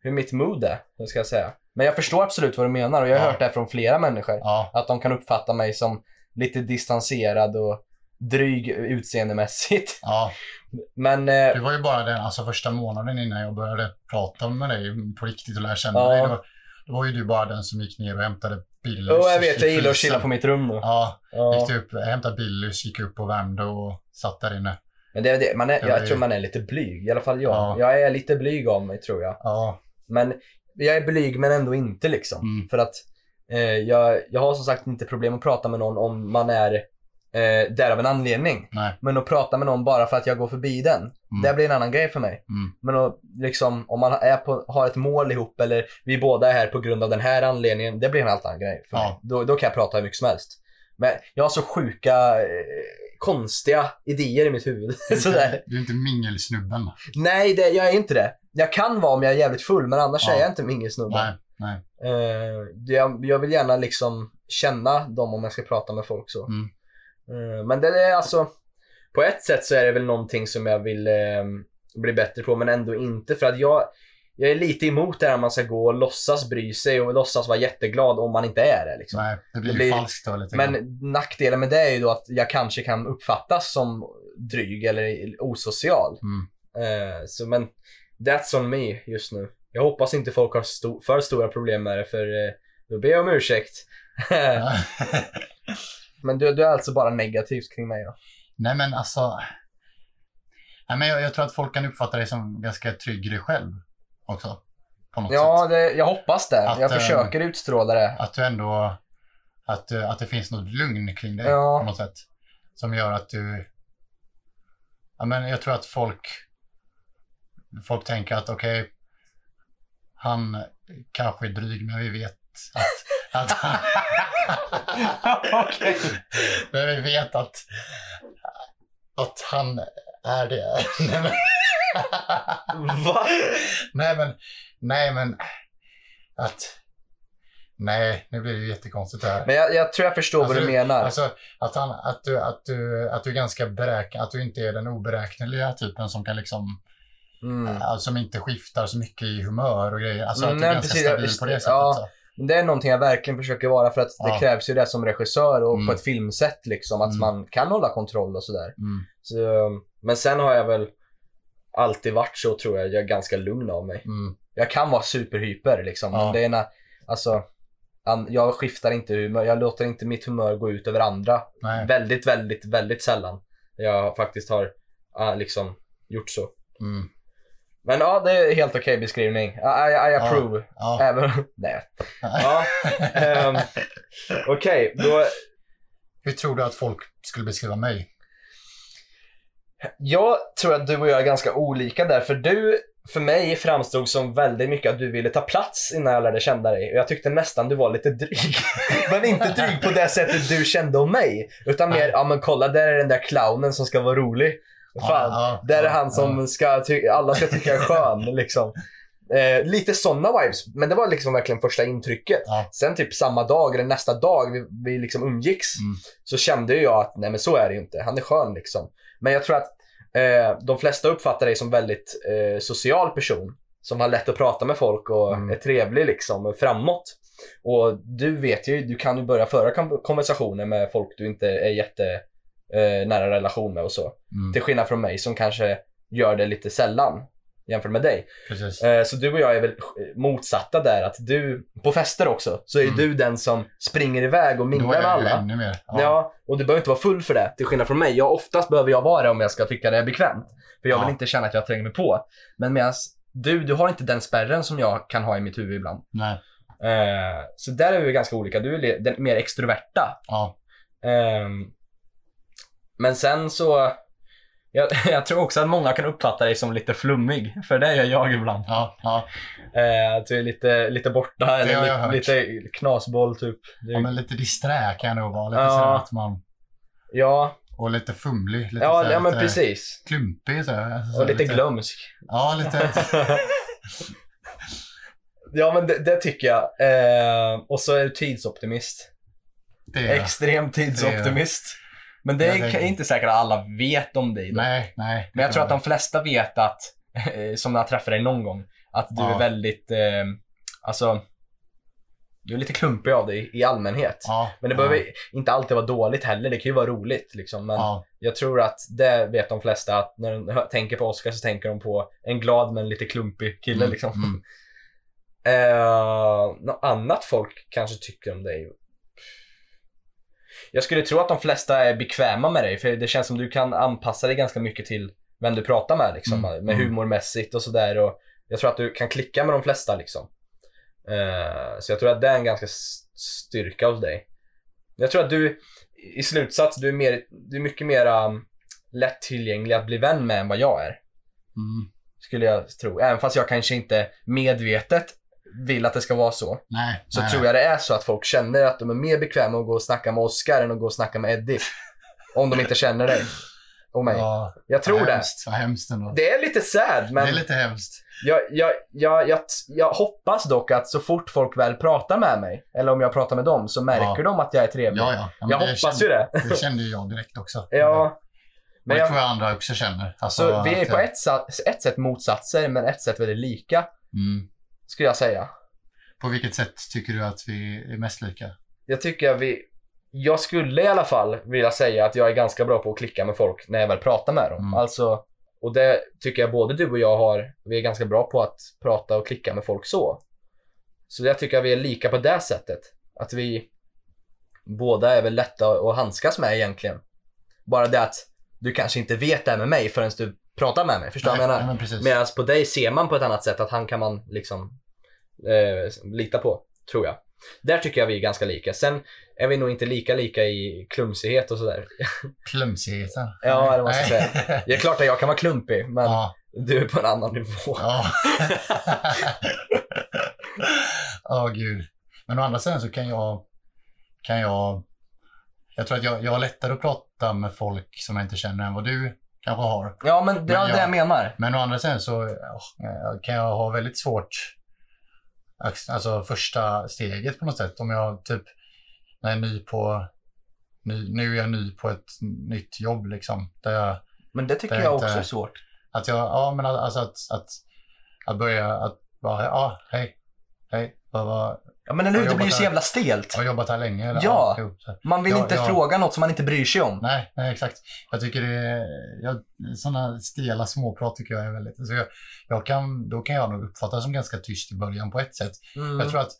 S1: hur mitt mood är, hur ska jag säga. Men jag förstår absolut vad du menar och jag har
S2: Ja.
S1: hört det här från flera människor.
S2: Ja,
S1: Att de kan uppfatta mig som lite distanserad och dryg utseendemässigt.
S2: ja.
S1: Men eh,
S2: Det var ju bara den alltså, första månaden innan jag började prata med dig på riktigt och lära känna
S1: Ja.
S2: dig. Då, då var ju du bara den som gick ner och hämtade Billys.
S1: oh, jag vet,
S2: i
S1: jag gillar att
S2: frysen.
S1: chilla på mitt rum nu.
S2: Ja,
S1: Ja.
S2: gick du upp, hämtade Billys, gick upp och värmde och satt där inne.
S1: Men det, är det, man är,
S2: Jag
S1: jag
S2: är-
S1: tror man är lite blyg, i alla fall jag.
S2: Ja.
S1: Jag är lite blyg av mig tror jag.
S2: Ja,
S1: Men jag är blyg men ändå inte liksom.
S2: Mm.
S1: För att eh, jag, jag har som sagt inte problem att prata med någon om man är eh, där av en anledning.
S2: nej.
S1: Men att prata med någon bara för att jag går förbi den, det blir en annan grej för mig.
S2: Mm.
S1: Men att, liksom, om man är på, har ett mål ihop eller vi båda är här på grund av den här anledningen, det blir en helt annan grej för
S2: Ja.
S1: mig. Då, då kan jag prata hur mycket som helst. Men jag har så sjuka eh, konstiga idéer i mitt huvud. Sådär.
S2: Du är inte mingelsnubben.
S1: Nej, det, jag är inte det. Jag kan vara om jag är jävligt full, men annars
S2: Ja.
S1: är jag inte mingelsnubbe.
S2: Nej, nej.
S1: Eh, det- jag, jag vill gärna liksom känna dem om jag ska prata med folk så.
S2: Mm.
S1: Eh, men det är alltså, på ett sätt så är det väl någonting som jag vill eh, bli bättre på men ändå inte för att jag, jag är lite emot det här att man ska gå och låtsas bry sig och låtsas vara jätteglad om man inte är det. Liksom.
S2: nej. Det blir
S1: Det
S2: ju
S1: blir-
S2: falskt då lite grann.
S1: Men nackdelen med det är ju då att jag kanske kan uppfattas som dryg eller osocial.
S2: Mm.
S1: Eh, så men that's on me just nu. Jag hoppas inte folk har sto- för stora problem med det för eh, då ber jag om ursäkt. men du, du är alltså bara negativt kring mig då?
S2: Nej men alltså. Nej, men jag, jag tror att folk kan uppfatta dig som ganska trygg i dig själv också. På något
S1: Ja,
S2: sätt.
S1: det, jag hoppas det.
S2: Att,
S1: jag
S2: eh,
S1: försöker utstråla det.
S2: Att du ändå, att, eh, att det finns något lugn kring dig
S1: Ja.
S2: på något sätt. Som gör att du, ja men jag tror att folk, folk tänker att okej, han kanske är dryg men vi vet att, att han,
S5: Okej.
S2: men vi vet att, att han är det. Nej, men-
S1: Va?
S2: Nej men, nej men att... Nej, nu blir det ju jättekonstigt det här.
S1: Men jag, jag tror jag förstår
S2: Alltså,
S1: vad du menar.
S2: Alltså att, han, att, du, att, du, att du är ganska beräknad, att du inte är den oberäkneliga typen som kan liksom,
S1: mm.
S2: alltså, som inte skiftar så mycket i humör och grejer. Alltså att du
S1: Nej,
S2: är ganska
S1: precis, jag-
S2: stabil på det sättet.
S1: ja.
S2: så.
S1: Det är någonting jag verkligen försöker vara för att det
S2: Ja.
S1: krävs ju det som regissör och
S2: Mm.
S1: på ett filmsätt liksom. Att
S2: Mm.
S1: man kan hålla kontroll och sådär.
S2: Mm,
S1: Så, um, men sen har jag väl alltid varit så tror jag. Jag är ganska lugn av mig.
S2: mm,
S1: Jag kan vara superhyper liksom.
S2: Ja.
S1: Men det är när, alltså, an- jag skiftar inte humör. Jag låter inte mitt humör gå ut över andra.
S2: nej.
S1: Väldigt, väldigt, väldigt sällan. Jag faktiskt har ah, liksom gjort så.
S2: Mm,
S1: Men ja, det är helt okej beskrivning. I, I, I approve.
S2: ja.
S1: Även... Nej. Ja. ehm, okej, då...
S2: Hur tror du att folk skulle beskriva mig?
S1: Jag tror att du och jag är ganska olika där, för du för mig framstod som väldigt mycket att du ville ta plats innan jag lärde känna dig. Och jag tyckte nästan du var lite dryg. men inte dryg på det sättet du kände om mig. Utan mer, ja men kolla där är den där clownen som ska vara rolig. Fan,
S2: Ja, ja,
S1: där är
S2: ja,
S1: han som ska ty- alla ska tycka är skön liksom. Eh, lite sådana vibes. Men det var liksom verkligen första intrycket.
S2: Ja.
S1: Sen typ samma dag eller nästa dag vi, vi liksom umgicks
S2: Mm.
S1: så kände ju jag att nej men så är det ju inte. Han är skön liksom. Men jag tror att eh, de flesta uppfattar dig som väldigt eh, social person. Som har lätt att prata med folk och
S2: Mm.
S1: är trevlig liksom och framåt. Och du vet ju, du kan ju börja föra kom- konversationer med folk du inte är jätte eh, nära relation med och så.
S2: Mm,
S1: Till skillnad från mig som kanske gör det lite sällan jämfört med dig.
S2: precis.
S1: Eh, Så du och jag är väl eh, motsatta där att du, på fester också, så är ju
S2: Mm.
S1: du den som springer iväg och
S2: Då
S1: minglar
S2: är
S1: med
S2: jag ju
S1: alla.
S2: ännu mer.
S1: Ja. och du behöver inte vara full för det. Till skillnad från mig. Jag, oftast behöver jag vara det om jag ska tycka det är bekvämt. För jag
S2: Ja.
S1: vill inte känna att jag tränger mig på. Men medan du, du har inte den spärren som jag kan ha i mitt huvud ibland.
S2: Nej,
S1: Eh, Så där är vi ganska olika. Du är le- den mer extroverta
S2: ja.
S1: Ehm, men sen så, jag, jag tror också att många kan uppfatta dig som lite flummig, för det är jag ibland.
S2: ja, ja.
S1: Eh, att du är lite, lite borta eller
S2: har jag hört.
S1: li, lite knasboll typ. Du,
S2: Ja, men lite disträ kan jag nog vara. Lite
S1: Ja.
S2: sådär att man...
S1: ja,
S2: Och lite fumlig. Lite
S1: ja,
S2: sådär,
S1: ja men
S2: lite
S1: precis.
S2: Klumpig sådär. Alltså,
S1: Och
S2: sådär
S1: lite glömsk.
S2: Ja, lite.
S1: ja men det, det tycker jag. Eh, och så är du tidsoptimist.
S2: Det är jag.
S1: Extrem tidsoptimist. Men det
S2: Jag
S1: är
S2: tänker-
S1: inte säkert att alla vet om dig. då.
S2: Nej, nej.
S1: Men jag tror att de flesta vet att, eh, som när jag träffade dig någon gång, att du
S2: Ja.
S1: är väldigt, eh, alltså, du är lite klumpig av dig i allmänhet.
S2: Ja,
S1: Men det
S2: ja,
S1: behöver inte alltid vara dåligt heller, det kan ju vara roligt liksom. Men
S2: Ja,
S1: jag tror att det vet de flesta, att när de hör- tänker på Oscar så tänker de på en glad men lite klumpig kille
S2: Mm,
S1: liksom.
S2: mm.
S1: Eh, något annat folk kanske tycker om dig? Jag skulle tro att de flesta är bekväma med dig, för det känns som du kan anpassa dig ganska mycket till vem du pratar med, liksom,
S2: Mm,
S1: med
S2: mm.
S1: humormässigt och sådär. och Jag tror att du kan klicka med de flesta. Liksom. Eh, så jag tror att det är en ganska s- styrka hos dig. Jag tror att du, i slutsats, du är, mer, du är mycket mer um, lättillgänglig att bli vän med än vad jag är
S2: mm,
S1: skulle jag tro. Även fast jag kanske inte medvetet vill att det ska vara så.
S2: nej.
S1: Så
S2: nej,
S1: tror jag det är så att folk känner att de är mer bekväma att gå och snacka med Oscar än att gå och snacka med Eddie. Om de inte känner dig. Och mig.
S2: Ja,
S1: jag tror
S2: vad
S1: det.
S2: hemskt, Vad hemskt ändå.
S1: Det är lite sad, men
S2: Det är lite hemskt.
S1: jag, jag, jag, jag, jag hoppas dock att så fort folk väl pratar med mig, eller om jag pratar med dem, så märker
S2: Ja.
S1: de att jag är trevlig.
S2: Ja, ja. ja men
S1: jag
S2: det
S1: hoppas
S2: kände,
S1: ju det.
S2: Det kände ju jag direkt också.
S1: Ja,
S2: men
S1: men
S2: det
S1: jag,
S2: tror jag andra också känner. Alltså,
S1: så vi är
S2: att
S1: på
S2: jag-
S1: ett, sa- ett sätt motsatser, men ett sätt väldigt lika,
S2: Mm.
S1: skulle jag säga.
S2: På vilket sätt tycker du att vi är mest lika?
S1: Jag tycker att vi... Jag skulle i alla fall vilja säga att jag är ganska bra på att klicka med folk när jag väl pratar med dem.
S2: Mm.
S1: Alltså, och det tycker jag både du och jag har. Vi är ganska bra på att prata och klicka med folk så. Så jag tycker att vi är lika på det sättet. Att vi båda är väl lätta att handskas med egentligen. Bara det att du kanske inte vet det här med mig förrän du pratar med mig. Förstår du vad jag menar?
S2: Nej, men precis.
S1: Medan på dig ser man på ett annat sätt att han kan man liksom eh, lita på, tror jag. Där tycker jag vi är ganska lika. Sen är vi nog inte lika lika i klumsighet och sådär.
S2: Klumsigheten.
S1: Ja, det måste jag
S2: Nej.
S1: Det är klart att jag kan vara klumpig, men
S2: ja.
S1: du är på en annan nivå.
S2: Ja. Åh gud. Men å andra sidan så kan jag, kan jag, jag tror att jag, jag har lättare att prata med folk som jag inte känner än vad du kanske har.
S1: Ja, men det är
S2: Men
S1: det
S2: jag-
S1: jag menar.
S2: Men å andra sidan så ja, kan jag ha väldigt svårt, alltså första steget på något sätt. Om jag typ, när jag är ny på, ny, nu är jag ny på ett nytt jobb liksom. Där jag,
S1: Men det tycker
S2: Det är
S1: jag
S2: inte-
S1: också är svårt.
S2: att jag, ja men al- alltså att, att, att börja att bara, ja hej, hej, vad, vad,
S1: Ja, men eller hur?
S2: Jag
S1: Det blir ju
S2: jobbar
S1: så
S2: där.
S1: jävla stelt.
S2: har jag jobbat här länge? Eller,
S1: Ja.
S2: jo, så här.
S1: Man vill
S2: Ja,
S1: inte
S2: ja.
S1: fråga något som man inte bryr sig om.
S2: Nej, nej, exakt. Jag tycker det är, jag, sådana stela småprat tycker jag är väldigt, så jag, jag kan, då kan jag nog uppfattas som ganska tyst i början på ett sätt.
S1: Mm.
S2: Jag tror att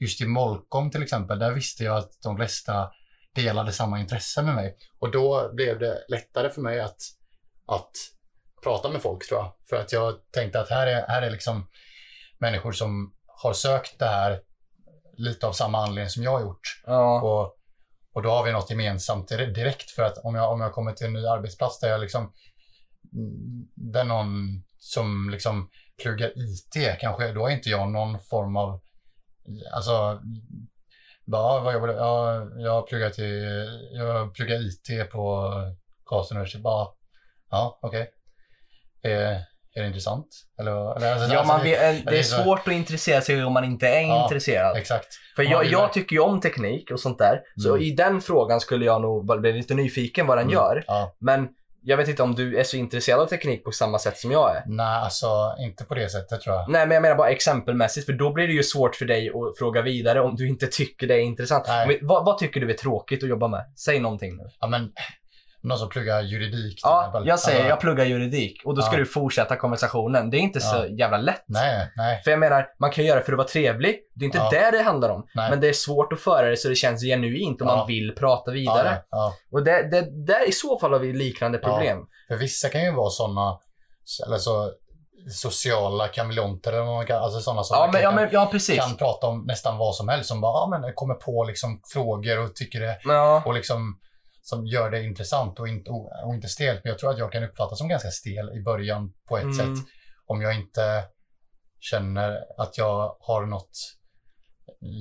S2: just i Molkom till exempel, där visste jag att de flesta delade samma intresse med mig. Och då blev det lättare för mig att, att prata med folk tror jag. För att jag tänkte att här är, här är liksom människor som har sökt det här lite av samma anledning som jag har gjort.
S1: Ja.
S2: Och, och då har vi något gemensamt dir- direkt. För att om jag, om jag kommer till en ny arbetsplats där jag liksom, mm, där någon som liksom pluggar IT kanske, då är inte jag någon form av, alltså, bara, "Ah, vad jobbar du? Ja, jag pluggar till, jag pluggar IT på Karlstads universitet. Bara, ja, okej. Är, är det intressant? Eller, eller, alltså,
S1: Ja,
S2: alltså,
S1: man
S2: det-
S1: vet, det är
S2: är så-
S1: svårt att intressera sig om man inte är
S2: Ja,
S1: intresserad.
S2: Exakt.
S1: För
S2: Man
S1: jag,
S2: vill
S1: jag
S2: verkligen-
S1: tycker ju om teknik och sånt där. Så
S2: Mm.
S1: i den frågan skulle jag nog bara bli lite nyfiken vad den
S2: Mm.
S1: gör.
S2: Ja.
S1: Men jag vet inte om du är så intresserad av teknik på samma sätt som jag är.
S2: Nej, alltså inte på det sättet tror jag.
S1: Nej, men jag menar bara exempelmässigt, för då blir det ju svårt för dig att fråga vidare om du inte tycker det är intressant.
S2: Nej.
S1: Men vad, vad tycker du är tråkigt att jobba med? Säg någonting nu.
S2: ja, men, någon som pluggar juridik. till
S1: Ja,
S2: exempel.
S1: jag säger
S2: Alltså,
S1: jag pluggar juridik och då ska
S2: Ja.
S1: du fortsätta konversationen. Det är inte så
S2: Ja.
S1: jävla lätt.
S2: Nej, nej,
S1: För jag menar, man kan göra det för att vara trevlig. Det är inte
S2: Ja.
S1: det det handlar om.
S2: nej.
S1: Men det är svårt att föra det så det känns genuint och
S2: Ja.
S1: man vill prata
S2: Ja,
S1: vidare.
S2: Ja, ja.
S1: Och det, det, där i så fall har vi liknande problem.
S2: För vissa kan ju vara sådana, eller så sociala kameleonter eller vad man kan, alltså sådana som
S1: Ja, men, ja,
S2: verkligen
S1: men, ja precis.
S2: kan prata om nästan vad som helst. Som bara ja, men, kommer på liksom frågor och tycker det,
S1: Ja.
S2: och liksom som gör det intressant och inte, och, och inte stelt. Men jag tror att jag kan uppfattas som ganska stel i början på ett
S1: Mm.
S2: sätt. om jag inte känner att jag har något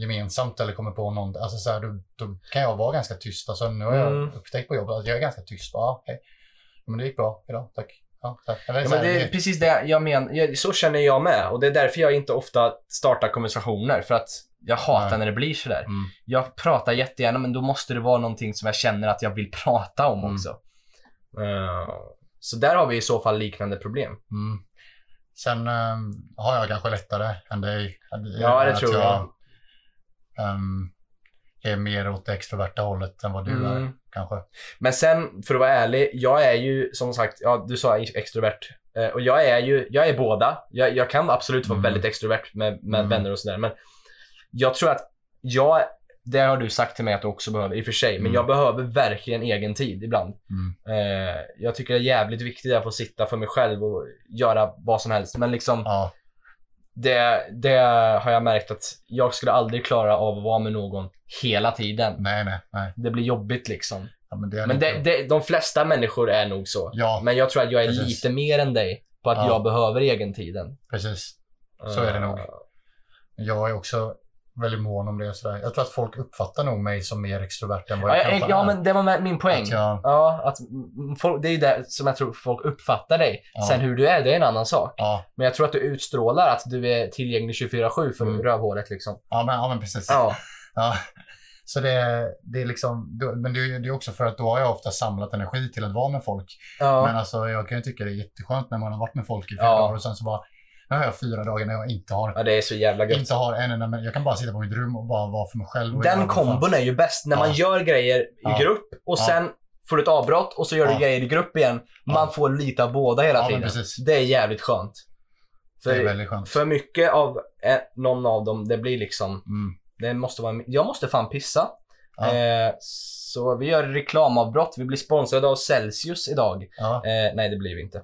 S2: gemensamt eller kommer på någon, alltså så här, då, då kan jag vara ganska tyst. Alltså, nu har
S1: Mm.
S2: jag upptäckt på jobbet att jag är ganska tyst. Ja, hej. Men det gick bra idag, tack. Ja, tack. Eller,
S1: Ja,
S2: så
S1: men
S2: här,
S1: Alltså, det är
S2: det-
S1: precis det jag menar. Jag- Så känner jag med. Och det är därför jag inte ofta startar konversationer. För att jag hatar
S2: Nej.
S1: när det blir sådär.
S2: Mm.
S1: Jag pratar jättegärna men då måste det vara någonting som jag känner att jag vill prata om
S2: Mm.
S1: också. Eh, Så där har vi i så fall liknande problem.
S2: Mm. Sen ehm, har jag kanske lättare än dig.
S1: Ja, det
S2: Att
S1: tror jag.
S2: ehm, är mer åt det extroverta hållet än vad du är,
S1: Mm.
S2: kanske.
S1: Men sen, för att vara ärlig, jag är ju som sagt, ja, du sa extrovert. Eh, Och jag är ju, jag är båda. Jag, jag kan absolut vara
S2: Mm.
S1: väldigt extrovert med, med
S2: Mm.
S1: vänner och sådär. Men jag tror att jag, det har du sagt till mig att du också behöver, i och för sig. Men
S2: Mm.
S1: jag behöver verkligen egen tid ibland.
S2: Mm.
S1: Eh, jag tycker det är jävligt viktigt att få sitta för mig själv och göra vad som helst. Men liksom,
S2: Ja,
S1: det, det har jag märkt att jag skulle aldrig klara av att vara med någon hela tiden.
S2: nej, nej, nej.
S1: Det blir jobbigt liksom.
S2: Ja, men det är
S1: Men
S2: lite-
S1: det, det, de flesta människor är nog så.
S2: Ja,
S1: Men jag tror att jag är
S2: Precis.
S1: lite mer än dig på att
S2: Ja.
S1: jag behöver egentiden.
S2: precis. Så är det nog. Jag är också väldigt mån om det. och Sådär. Jag tror att folk uppfattar nog mig som mer extrovert än vad
S6: Ja,
S2: jag kanske
S6: ja, ja,
S2: är.
S6: men det var med- min poäng.
S2: Att jag,
S6: Ja, att mm, folk, det är ju det som jag tror folk uppfattar dig.
S2: Ja.
S6: Sen hur du är, det är en annan sak.
S2: ja,
S6: Men jag tror att du utstrålar att du är tillgänglig 24-7 för
S2: Mm.
S6: rövhålet liksom.
S2: ja, men, ja, men precis.
S6: Ja.
S2: Ja. Så det, det är liksom, då- men det är, ju- det är också för att då har jag ofta samlat energi till att vara med folk. Men
S6: ja.
S2: alltså jag kan ju tycka det är jätteskönt när man har varit med folk i fyra
S6: Ja.
S2: dagar och sen så bara, nu har jag fyra dagar när jag inte har,
S6: ja, det är så jävla gött.
S2: inte har en enda, men jag kan bara sitta på mitt rum och bara vara för mig själv. och göra
S6: Den
S2: vad fan-
S6: kombon är ju bäst. När man
S2: Ja.
S6: gör grejer i
S2: Ja.
S6: grupp och
S2: Ja.
S6: sen får du ett avbrott och så gör du
S2: Ja.
S6: grejer i grupp igen. Man
S2: Ja.
S6: får lite av båda hela
S2: Ja, men
S6: tiden.
S2: precis.
S6: Det är jävligt skönt.
S2: Det är
S6: För,
S2: väldigt skönt.
S6: för mycket av eh, någon av dem, det blir liksom,
S2: Mm.
S6: det måste vara, jag måste fan pissa.
S2: Ja.
S6: Eh, så vi gör reklamavbrott. Vi blir sponsrade av Celsius idag.
S2: Ja.
S6: Eh, nej, det blir vi inte.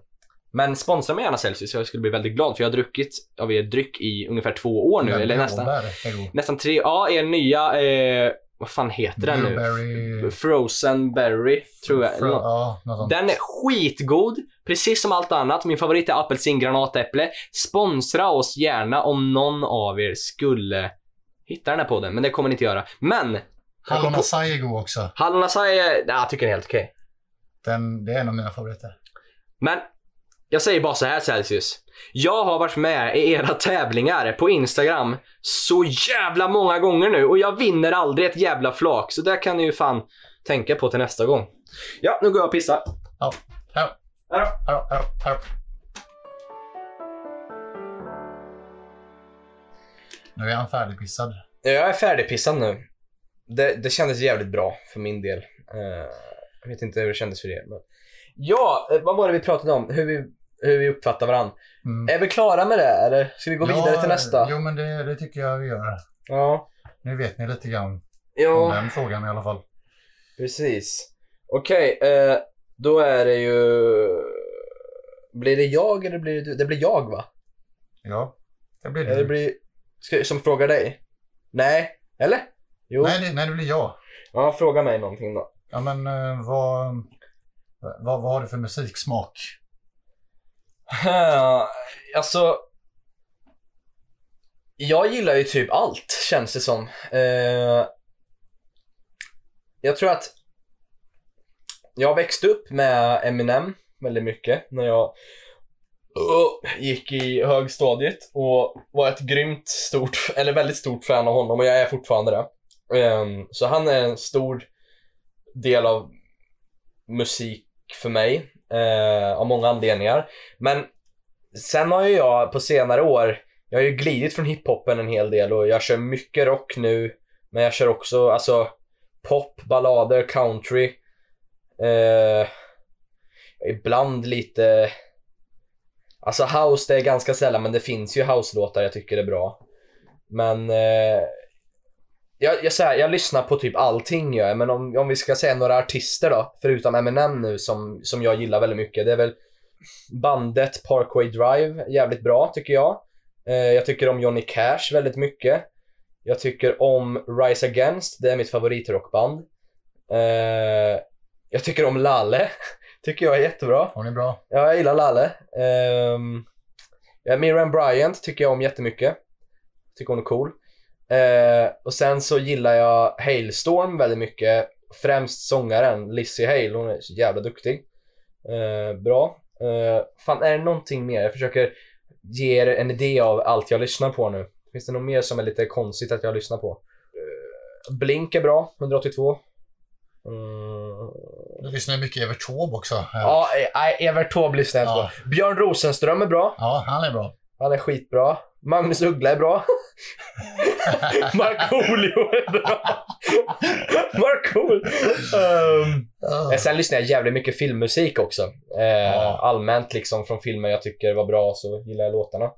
S1: Men sponsra mig gärna Celsius, jag skulle bli väldigt glad för jag har druckit av er dryck i ungefär två år nu,
S2: Men
S1: eller nästan,
S2: blåbär är god.
S1: nästan tre. Ja, er nya, eh, vad fan heter den nu?
S2: Blueberry...
S1: Frozen berry, tror jag.
S2: Fro- ja, något sånt.
S1: Den är skitgod, precis som allt annat. Min favorit är apelsingranatäpple. Sponsra oss gärna om någon av er skulle hitta den här podden, men det kommer ni inte göra. Men!
S2: Hallon acai är god också.
S1: Hallon Asai, är- nah, jag tycker den är helt okej.
S2: Den, det är en av mina favoriter.
S1: Men jag säger bara så här Celsius. Jag har varit med i era tävlingar på Instagram så jävla många gånger nu och jag vinner aldrig ett jävla flak. Så det kan ni ju fan tänka på till nästa gång. Ja, nu går jag och pissar.
S2: Ja.
S1: Här då.
S2: Ja, ja, ja. Nu är han färdigpissad.
S1: Jag är färdigpissad nu. Det, det kändes jävligt bra för min del. Eh, jag vet inte hur det kändes för er. Men... Ja, eh, vad var det vi pratade om? Hur vi, hur vi uppfattar varandra.
S2: Mm.
S1: Är vi klara med det eller ska vi gå vidare till nästa?
S2: Jo, men det, det tycker jag vi gör.
S1: Ja.
S2: Nu vet ni lite grann om
S1: Ja,
S2: den frågan i alla fall.
S1: precis. Okej, eh, då är det ju... Blir det jag eller blir det du? Det blir jag va?
S2: Ja, det blir
S1: Eller
S2: du.
S1: blir... Ska, som frågar dig? Nej? Eller? Jo.
S2: Nej, det, nej, det blir jag.
S1: Ja, fråga mig någonting då.
S2: Ja, men eh, vad, vad, vad har du för musiksmak?
S1: Eh, alltså... Jag gillar ju typ allt, känns det som. Eh, jag tror att jag växte upp med Eminem väldigt mycket när jag Öh, gick i högstadiet och var ett grymt stort, eller väldigt stort fan av honom och jag är fortfarande det. Ehm, så han är en stor del av musik för mig eh, av många anledningar. Men sen har ju jag på senare år, jag har ju glidit från hiphopen en hel del och jag kör mycket rock nu. Men jag kör också alltså pop, ballader, country. Eh, ibland lite... Alltså house det är ganska sällan men det finns ju house-låtar jag tycker är bra. Men eh, jag, jag, så här, jag lyssnar på typ allting gör jag, men om, om vi ska säga några artister då, förutom Eminem nu som, som jag gillar väldigt mycket. Det är väl bandet Parkway Drive, jävligt bra tycker jag. Eh, jag tycker om Johnny Cash väldigt mycket. Jag tycker om Rise Against, det är mitt favoritrockband. Eh, jag tycker om Lalle, tycker jag är jättebra.
S2: Har ni bra?
S1: Ja, jag gillar Lalle. Um, Miriam Bryant tycker jag om jättemycket. Tycker hon är cool. Eh, och sen så gillar jag Hailstorm väldigt mycket. Främst sångaren Lizzie Hale, hon är så jävla duktig. Eh, bra. Eh, fan, är det någonting mer? Jag försöker ge er en idé av allt jag lyssnar på nu. Finns det något mer som är lite konstigt att jag lyssnar på? Eh, Blink är bra, 182. Mm.
S2: Du lyssnar ju mycket Evert Taube också. Ja.
S1: Ja, eh, Evert Taube lyssnar jag inte på.
S2: Ja.
S1: Björn Rosenström är bra.
S2: ja, han är bra.
S1: Han är skitbra. Magnus Uggla är bra. Markoolio är bra. Markoolio.
S3: Mm.
S1: Ehm, men sen lyssnar jag jävligt mycket filmmusik också. Eh,
S2: Ja.
S1: Allmänt liksom från filmer jag tycker var bra så gillar jag låtarna.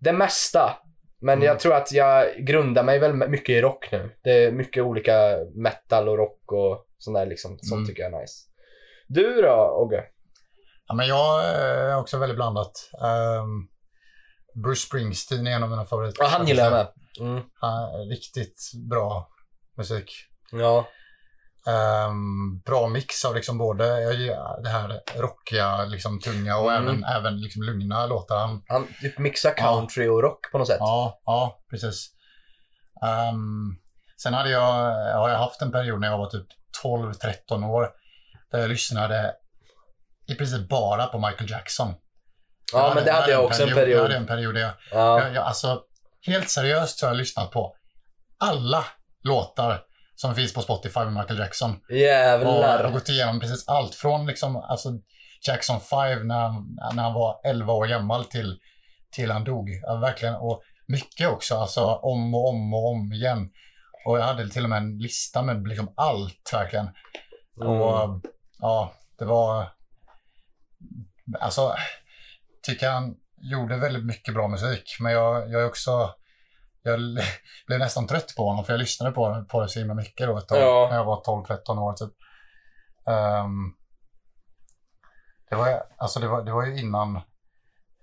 S1: Det mesta. Men
S2: Mm.
S1: jag tror att jag grundar mig väl mycket i rock nu. Det är mycket olika metal och rock och sånt där liksom. Sånt
S2: Mm.
S1: tycker jag är nice. Du då, Ogge?
S2: Ja, men jag eh, är också väldigt blandat. Ehm, Bruce Springsteen är en av mina favoriter.
S1: Ja, han gillar jag med. Mm.
S2: Han- Riktigt bra musik.
S1: Ja.
S2: Ehm, bra mix av liksom både jag gillar det här rockiga, liksom tunga och
S1: Mm.
S2: även, även liksom lugna låtar. Han,
S1: Han typ mixar country och rock på något sätt.
S2: ja, ja, precis. Ehm, sen hade jag, har jag haft en period när jag var typ 12-13 år där jag lyssnade i princip bara på Michael Jackson. Jag
S1: Ja, men det hade jag också en
S2: Jag
S1: period.
S2: hade en period där jag,
S1: Ja.
S2: jag, jag alltså, helt seriöst så har jag lyssnat på alla låtar som finns på Spotify med Michael Jackson. Och, och
S1: Jävlar.
S2: gått igenom precis allt från liksom, alltså Jackson 5 när han, när han var 11 år gammal till, till han dog. Ja, verkligen. Och mycket också, alltså om och om och om igen. Och jag hade till och med en lista med liksom allt verkligen.
S1: Mm.
S2: Och ja, det var... Alltså, tycker han gjorde väldigt mycket bra musik. Men jag, jag är också... Jag l- blev nästan trött på honom för jag lyssnade på, på det så himla mycket då ett tag.
S1: Ja.
S2: När jag var 12-13 år typ. Ehm, det, var, alltså det, var, det var ju innan,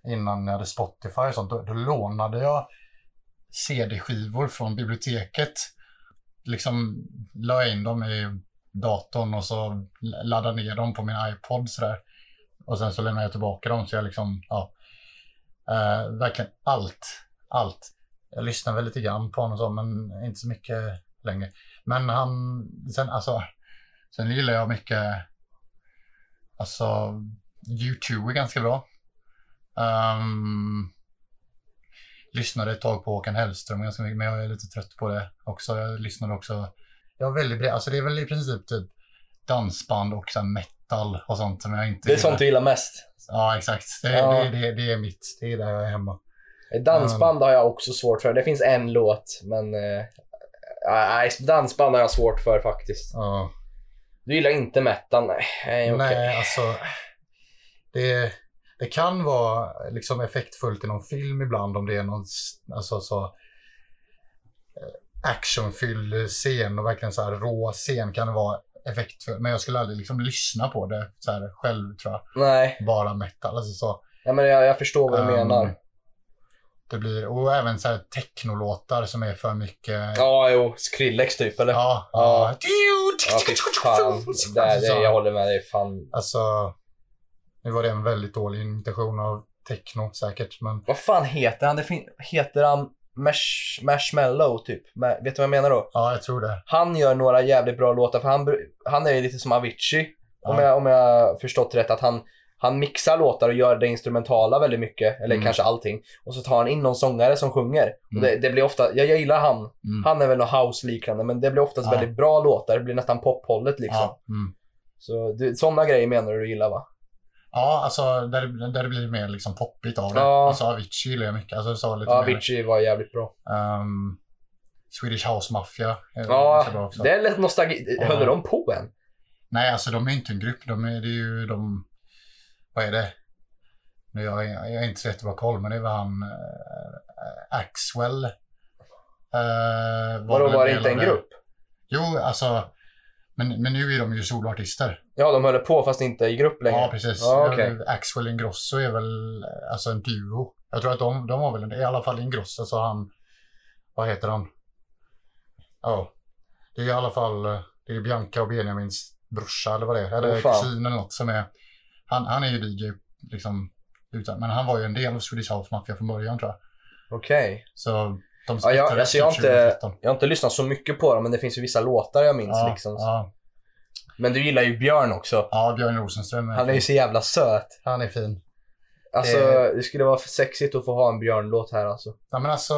S2: innan jag hade Spotify och sånt. Då, då lånade jag CD-skivor från biblioteket. Liksom la jag in dem i datorn och så laddade ner dem på min iPod sådär. Och sen så lämnade jag tillbaka dem så jag liksom, ja. Eh, verkligen allt, allt. Jag lyssnade väl lite grann på honom och så, men inte så mycket längre. Men han, sen alltså, sen gillar jag mycket, alltså, YouTube är ganska bra. Ehm, lyssnade ett tag på Håkan Hellström ganska mycket, men jag är lite trött på det också. Jag lyssnade också jag har väldigt bred, alltså det är väl i princip typ dansband och sen metal och sånt som jag inte
S1: Det är sånt du gillar mest.
S2: Ja, exakt. Det,
S1: Ja.
S2: Det, det, det är mitt. Det är där jag är hemma.
S1: Dansband har jag också svårt för. Det finns en låt, men... eh, Nej, dansband har jag svårt för faktiskt.
S2: Ja.
S1: Du gillar inte metal? Nej, nej okej.
S2: Nej, alltså. Det, det kan vara liksom effektfullt i någon film ibland om det är någon s- alltså, så, eh, actionfylld scen och verkligen så här rå scen kan det vara effektfullt. Men jag skulle aldrig liksom lyssna på det så här själv tror jag.
S1: Nej,
S2: Bara metal. Alltså, så.
S1: ja, men jag, jag förstår vad du
S2: Ehm,
S1: menar.
S2: Det blir, och även så här technolåtar som är för mycket.
S1: Ja, jo. Skrillex typ, eller? Ja,
S2: Ja.
S1: Ja.
S2: ja.
S1: fy fan. Där, det, jag håller med dig. Fan.
S2: Alltså, nu var det en väldigt dålig imitation av techno säkert, men
S1: Vad fan heter han? Det fin- heter han Mash- Marshmallow typ? Ma- vet du vad jag menar då?
S2: ja, jag tror det.
S1: Han gör några jävligt bra låtar för han, br- han är ju lite som Avicii. Om,
S2: Ja.
S1: jag, om jag förstått rätt att han, han mixar låtar och gör det instrumentala väldigt mycket. Eller
S2: Mm.
S1: kanske allting. Och så tar han in någon sångare som sjunger. Och det, det blir ofta, jag, jag gillar han.
S2: Mm.
S1: Han är väl något house-liknande men det blir oftast
S2: Ja.
S1: väldigt bra låtar. Det blir nästan pophållet liksom.
S2: Ja, mm.
S1: Så du, sådana grejer menar du du gillar va?
S2: ja alltså där, det- där det blir mer liksom poppigt av det.
S1: Ja.
S2: Alltså Avicii gillar jag mycket. Alltså, så lite
S1: Ja,
S2: mer,
S1: Avicii var jävligt bra.
S2: ehm, Swedish House Mafia eh, är
S1: Ja,
S2: ganska bra också.
S1: det är lite nostalgi.
S2: Ja.
S1: Höll de på än?
S2: Nej, alltså de är ju inte en grupp. De är, det är ju de... Vad är det? Nu jag, jag är inte så jättebra koll, men det var han... eh, Axwell. eh, var
S1: Vadå,
S2: väl
S1: var det
S2: del
S1: inte
S2: av
S1: en grupp?
S2: Jo, alltså... Men, men nu är de ju soloartister.
S1: Ja, de höll på fast inte i grupp längre.
S2: Ja, precis.
S1: Ja, okej.
S2: Axwell Ingrosso är väl eh, alltså en duo. Jag tror att de, de var väl en, i alla fall Ingrosso, så han... Vad heter han? Ja. Det är i alla fall eh, det är Bianca och Benjamins brorsa eller vad det är. Eller
S1: Åh, fan.
S2: kusin eller något som är... Han, han är ju DJ, liksom. Utan, men han var ju en del av Swedish House Mafia från början tror jag.
S1: Okej.
S2: Så de
S1: Ja, jag-
S2: splittrades
S1: alltså, jag har
S2: typ
S1: inte-
S2: 2013.
S1: Jag har inte lyssnat så mycket på dem, men det finns ju vissa låtar jag minns.
S2: Ja,
S1: liksom.
S2: ja,
S1: Men du gillar ju Björn också.
S2: ja, Björn Rosenström är,
S1: Han är ju
S2: fin.
S1: så jävla söt.
S2: han är fin.
S1: Alltså,
S2: Det-
S1: det skulle vara för sexigt att få ha en Björn-låt här alltså.
S2: Ja, men alltså,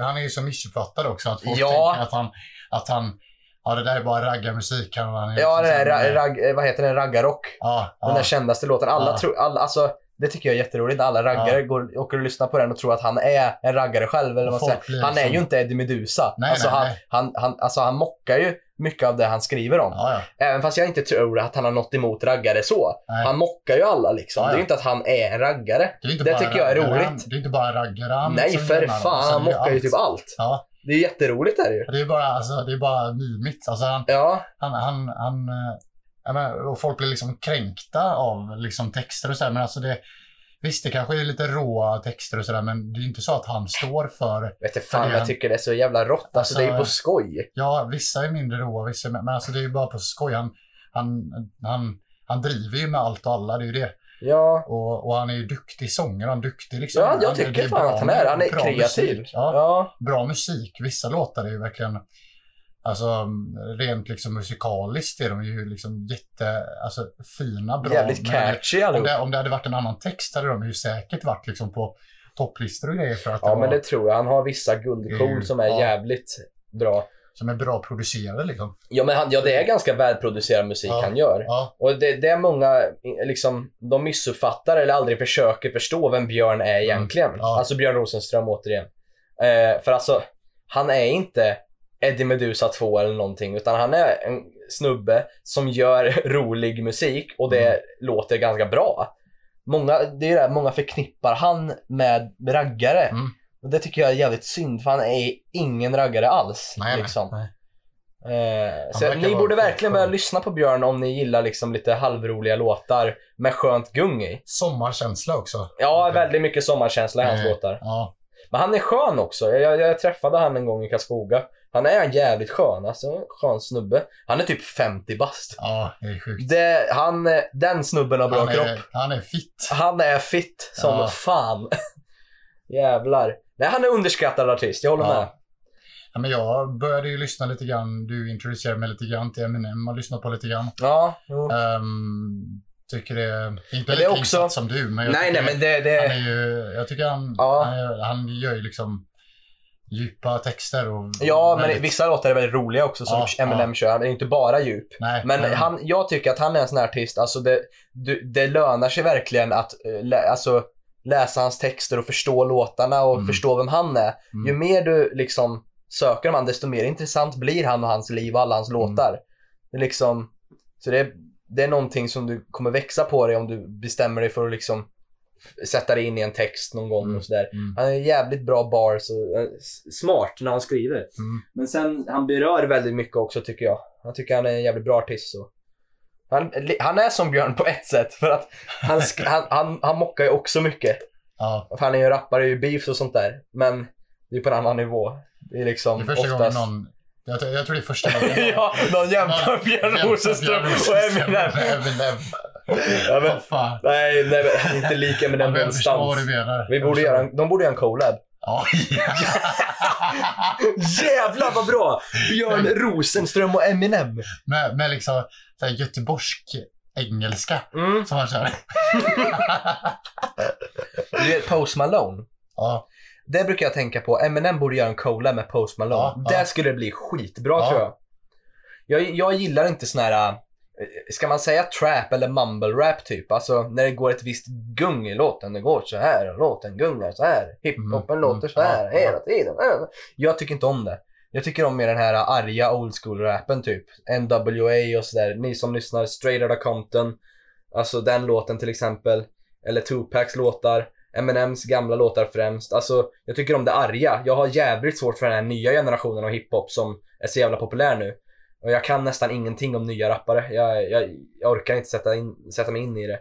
S2: han är ju så missuppfattad också. Att folk
S1: Ja.
S2: tänker att han, att han, ja det där är bara raggarmusik. Han, han är
S1: Ja, den
S2: liksom
S1: där,
S2: så här-
S1: ra- rag, eh, vad heter den? Raggarrock.
S2: ja, ja,
S1: Den där kändaste låten. Alla
S2: Ja.
S1: tror, alla, alltså, det tycker jag är jätteroligt när alla raggare går, åker och lyssnar på den och tror att han är en raggare själv. Eller
S2: Och
S1: vad man
S2: folk
S1: säger.
S2: blir
S1: Han är
S2: liksom-
S1: ju inte Eddie Meduza.
S2: Nej,
S1: alltså,
S2: nej,
S1: han,
S2: nej.
S1: Han, han, alltså, han mockar ju mycket av det han skriver om.
S2: ja, ja.
S1: Även fast jag inte tror att han har något emot raggare så.
S2: Nej.
S1: Han mockar ju alla liksom.
S2: Ja, ja.
S1: Det är ju inte att han är en raggare.
S2: Det, är inte
S1: Det
S2: bara
S1: tycker jag är
S2: raggare,
S1: roligt.
S2: Han, det är inte bara raggare han
S1: Nej
S2: liksom
S1: för
S2: gynnar dem,
S1: fan,
S2: alltså,
S1: han
S2: det är
S1: mockar ju
S2: allt.
S1: typ allt.
S2: Ja,
S1: Det är jätteroligt är det ju.
S2: det är bara, alltså, det är bara mimigt. Alltså, han,
S1: Ja,
S2: han, han, han, eh, ja, men, och folk blir liksom kränkta av liksom, texter och sådär. Men alltså det, visst, det kanske är lite råa texter och sådär, men det är inte så att han står för
S1: vet du fan
S2: det är
S1: jag
S2: han.
S1: tycker det är så jävla rått. Alltså,
S2: Alltså,
S1: det är ju på skoj.
S2: Ja, vissa är mindre råa, vissa är, men alltså det är ju bara på skoj. Han, han, han, han driver ju med allt och alla, det är ju det.
S1: Ja,
S2: Och, och han är ju duktig sångare, han är duktig liksom.
S1: ja
S2: Han-
S1: jag
S2: det
S1: tycker
S2: är
S1: fan
S2: bra-
S1: att han är. Han är
S2: bra
S1: kreativ.
S2: musik. Ja,
S1: Ja.
S2: Bra musik. Vissa låtar är ju verkligen, alltså rent liksom musikaliskt är de ju liksom jätte, alltså fina, bra.
S1: Jävligt
S2: Men det-
S1: catchy
S2: om
S1: allihop.
S2: det, om det hade varit en annan text hade de ju säkert varit liksom på topplistor och grejer för att
S1: Ja,
S2: det
S1: men
S2: var,
S1: det tror jag. Han har vissa guldkorn
S2: Mm,
S1: som är
S2: ja.
S1: jävligt bra.
S2: som är bra producerade liksom.
S1: Ja, men han, ja, det är ganska välproducerad musik
S2: Ja.
S1: han gör.
S2: Ja,
S1: Och det, det är många, eh, liksom, de missuppfattar eller aldrig försöker förstå vem Björn är egentligen.
S2: Mm. ja.
S1: Alltså Björn Rosenström återigen. Eh, för alltså, han är inte Eddie Meduza 2 eller någonting, utan han är en snubbe som gör rolig musik och det
S2: Mm.
S1: låter ganska bra. Många, det är det, här, månmånga förknippar han med raggare.
S2: Mm.
S1: Och det tycker jag är jävligt synd, för han är ingen raggare alls.
S2: Nej, nej,
S1: liksom.
S2: nej.
S1: Eh, så
S2: verkar
S1: ni
S2: vara
S1: borde
S2: skön.
S1: verkligen börja lyssna på Björn om ni gillar liksom lite halvroliga låtar med skönt gung i.
S2: Sommarkänsla också.
S1: Ja,
S2: Okej.
S1: väldigt mycket sommarkänsla i hans
S2: Mm.
S1: låtar.
S2: Ja,
S1: Men han är skön också. Jag, jag, jag träffade han en gång i Karlskoga. Han är en jävligt skön, alltså. en Skön snubbe. Han är typ 50 bast.
S2: ja det är sjukt.
S1: Det, han, eh, den snubben har bra
S2: Han
S1: kropp.
S2: är, han är fit.
S1: Han är fit som
S2: Ja.
S1: fan. Jävlar. Nej, han är underskattad artist, jag håller
S2: Ja.
S1: med.
S2: Ja, men jag började ju lyssna lite grann, du introducerade mig lite grann till Eminem och lyssnat på lite grann.
S1: Ja, jo.
S2: Ehm, tycker det är inte
S1: Men det är
S2: lika
S1: också-
S2: insatt som du, men jag
S1: Nej, nej,
S2: tycker
S1: men det... det...
S2: han är ju, jag tycker han,
S1: Ja.
S2: han, gör, han gör ju liksom djupa texter och
S1: Ja, men
S2: väldigt-
S1: vissa låtar är väldigt roliga också som
S2: Ja,
S1: Eminem kör. Han är inte bara djup.
S2: nej,
S1: Men han, jag tycker att han är en sån här artist, alltså det, du, det lönar sig verkligen att eh, lä, alltså, läsa hans texter och förstå låtarna och
S2: Mm.
S1: förstå vem han är.
S2: Mm.
S1: Ju mer du liksom söker om han, desto mer intressant blir han och hans liv och alla
S2: Mm.
S1: hans låtar. Det är liksom, så det, det är någonting som du kommer växa på dig om du bestämmer dig för att liksom f- sätta dig in i en text någon gång
S2: Mm.
S1: och sådär.
S2: Mm.
S1: Han har jävligt bra bars och eh, s- smart när han skriver.
S2: Mm.
S1: Men sen, han berör väldigt mycket också tycker jag. Jag tycker han är en jävligt bra artist. Så. Han, han är som Björn på ett sätt, för att han, sk- han, han, han mockar ju också mycket.
S2: Ja,
S1: För han är ju rappare i beefs och sånt där. Men det är på en annan nivå. Det är liksom
S2: det är första gången
S1: oftast...
S2: någon, jag, tror- jag tror det är första gången
S1: ja, någon jämför Björn Rosenström och Eminem.
S2: Eminem.
S1: Ja, men,
S2: Vad fan.
S1: nej, nej, men han är inte lik
S2: Ja,
S1: Eminem
S2: men Jag förstår vad du
S1: någonstans.
S2: menar.
S1: Vi
S2: Jag
S1: borde
S2: förstår.
S1: göra en, de borde göra en collab.
S2: Ja,
S1: Jävlar vad bra! Björn Rosenström och Eminem.
S2: med, med liksom så här göteborgsk engelska
S1: Mm.
S2: som han kör.
S1: Du vet Post Malone.
S2: Ja,
S1: Det brukar jag tänka på. Eminem borde göra en collab med Post Malone.
S2: Ja, ja.
S1: det skulle bli skitbra
S2: Ja.
S1: tror jag. jag. Jag gillar inte sån här, eh, ska man säga trap eller mumble rap typ? Alltså när det går ett visst gung i låten. Det går så här och låten gungar så här. Hiphopen
S2: Mm,
S1: låter så
S2: mm,
S1: här
S2: ja,
S1: hela tiden. Jag tycker inte om det. Jag tycker om mer den här arga old school rappen typ. NWA och sådär. Ni som lyssnar, Straight Outta Compton. Alltså den låten till exempel. Eller Tupacs låtar. Eminems gamla låtar främst. Alltså jag tycker om det arga. Jag har jävligt svårt för den här nya generationen av hiphop som är så jävla populär nu. Och jag kan nästan ingenting om nya rappare. Jag, jag, jag orkar inte sätta, in, sätta mig in i det.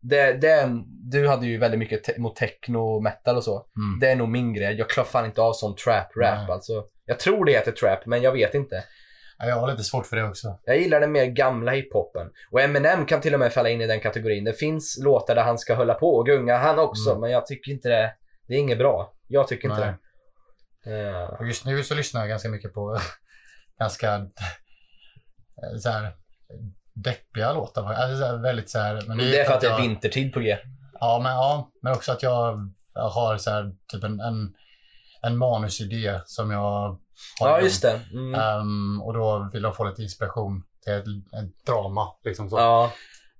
S1: det, det är en- du hade ju väldigt mycket te- mot techno och metal och så.
S2: mm.
S1: Det är nog min grej. Jag klarar fan inte av sån trap-rap
S2: Nej.
S1: alltså. Jag tror det heter trap, men jag vet inte.
S2: Ja, jag har lite svårt för det också.
S1: Jag gillar den mer gamla hiphopen. Och Eminem kan till och med falla in i den kategorin. Det finns låtar där han ska hålla på och gunga han också,
S2: Mm.
S1: men jag tycker inte det. Det är inget bra. Jag tycker inte
S2: Nej.
S1: det. Eh,
S2: Och just nu så lyssnar jag ganska mycket på ganska eh, så här, deppiga låtar. Alltså, så här, väldigt så här, men
S1: det är för att det är
S2: jag-
S1: vintertid på G.
S2: Ja, men, ja, men också att jag har så här, typ en, en, en manusidé som jag har.
S1: Ja,
S2: gjort.
S1: just det. Mm.
S2: Ehm, och då vill de få lite inspiration till ett, ett drama. Liksom så.
S1: Ja.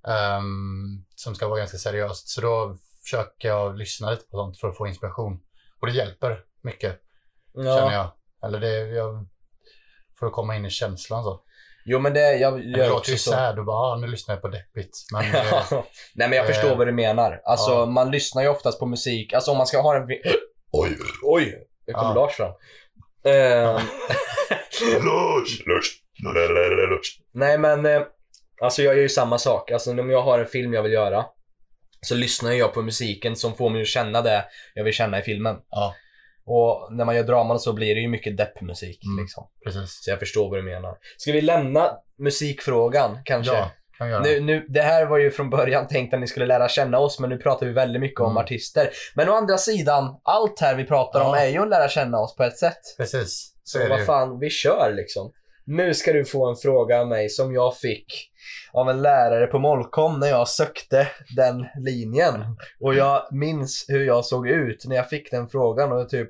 S2: Ehm, som ska vara ganska seriöst. Så då försöker jag lyssna lite på sånt för att få inspiration. Och det hjälper mycket, känner
S1: ja.
S2: jag. Eller det, jag får komma in i känslan så.
S1: Jo, men det, jag
S2: Det
S1: gör
S2: låter
S1: också
S2: ju
S1: så.
S2: sad och bara, ah, nu lyssnar jag på deppigt. Men eh,
S1: Ja. Nej men jag
S2: Eh,
S1: förstår vad du menar. Alltså
S2: ja.
S1: man lyssnar ju oftast på musik. Alltså om man ska ha en... vi- Oj, oj! Nu kom
S2: Ja.
S1: Lars fram. Eh, nej men, eh, alltså jag gör ju samma sak. Alltså om jag har en film jag vill göra så lyssnar jag på musiken som får mig att känna det jag vill känna i filmen.
S2: Ja.
S1: Och när man gör draman så blir det ju mycket deppmusik
S2: Mm.
S1: liksom.
S2: precis.
S1: Så jag förstår vad du menar. Ska vi lämna musikfrågan kanske?
S2: Ja, Kan göra.
S1: Nu, nu, det här var ju från början tänkt att ni skulle lära känna oss, men nu pratar vi väldigt mycket om
S2: Mm.
S1: artister. Men å andra sidan, allt här vi pratar om
S2: Ja.
S1: är ju att lära känna oss på ett sätt.
S2: Precis, så
S1: Så
S2: är det ju.
S1: vad fan, vi kör liksom. Nu ska du få en fråga av mig som jag fick av en lärare på Molkom när jag sökte den linjen. Och jag minns hur jag såg ut när jag fick den frågan och jag typ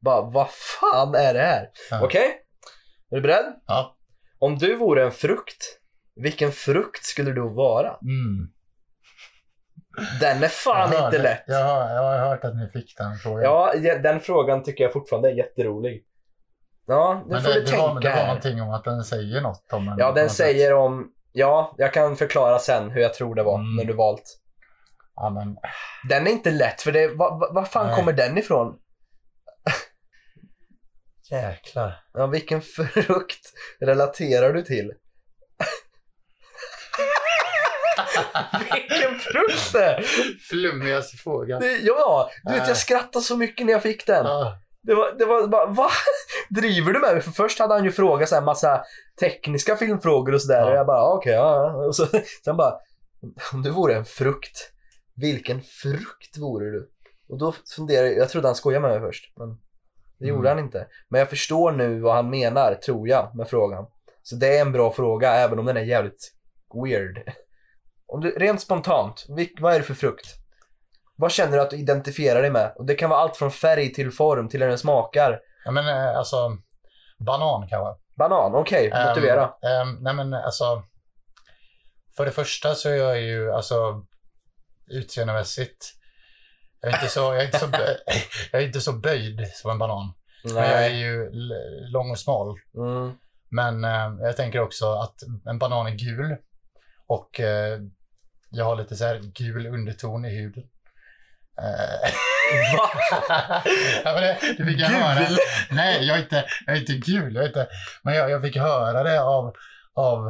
S1: bara, vad fan är det här?
S2: Ja.
S1: Okej? Är du beredd?
S2: Ja.
S1: Om du vore en frukt, vilken frukt skulle du vara?
S2: Mm.
S1: Den är fan
S2: Jag hörde-
S1: inte lätt.
S2: Jag har, jag har hört att ni fick den frågan.
S1: Ja, ja, den frågan tycker jag fortfarande är jätterolig. Ja, nu
S2: Men
S1: får
S2: det,
S1: du
S2: det,
S1: tänka
S2: var, det var
S1: här.
S2: någonting om att den säger något om en.
S1: Ja,
S2: på
S1: den
S2: något sätt.
S1: säger om... Ja, jag kan förklara sen hur jag tror det var
S2: Mm.
S1: när du valt.
S2: Ja, men,
S1: Den är inte lätt, för det... Vad va, vad fan
S2: Nej.
S1: kommer den ifrån?
S2: jäklar.
S1: Ja, vilken frukt relaterar du till? vilken frukt det är!
S2: Flummigaste frågan.
S1: Det- Ja, du vet
S2: Nej.
S1: jag skrattade så mycket när jag fick den.
S2: Ja,
S1: Det var, det var bara, va? Driver du med mig? För först hade han ju frågat så här massa tekniska filmfrågor och sådär.
S2: Ja.
S1: Och jag bara, ah, okej, ja, ja. Och så, sen bara, om du vore en frukt, vilken frukt vore du? Och då funderade jag, jag trodde han skojade med mig först. Men det gjorde han inte. Men jag förstår nu vad han menar, tror jag, med frågan. Så det är en bra fråga, även om den är jävligt weird. Om du, rent spontant, vil- vad är det för frukt? Vad känner du att du identifierar dig med? Och det kan vara allt från färg till form till hur den smakar.
S2: ja, men eh, alltså, banan kanske.
S1: Banan, okej,
S2: Ehm,
S1: motivera.
S2: ehm, nej, men alltså. För det första så är jag ju, alltså, utseendemässigt. Jag är, inte så, jag, är inte så bö- jag är inte så böjd som en banan. Men jag är
S1: Nej.
S2: ju l- lång och smal.
S1: Mm.
S2: Men eh, jag tänker också att en banan är gul och eh, jag har lite så här gul underton i huden. Eh,
S1: Va?
S2: ja, men det, det fick jag höra.
S1: Gul?
S2: Nej, jag är inte, jag är inte gul. Jag är inte, men jag, jag fick höra det av, av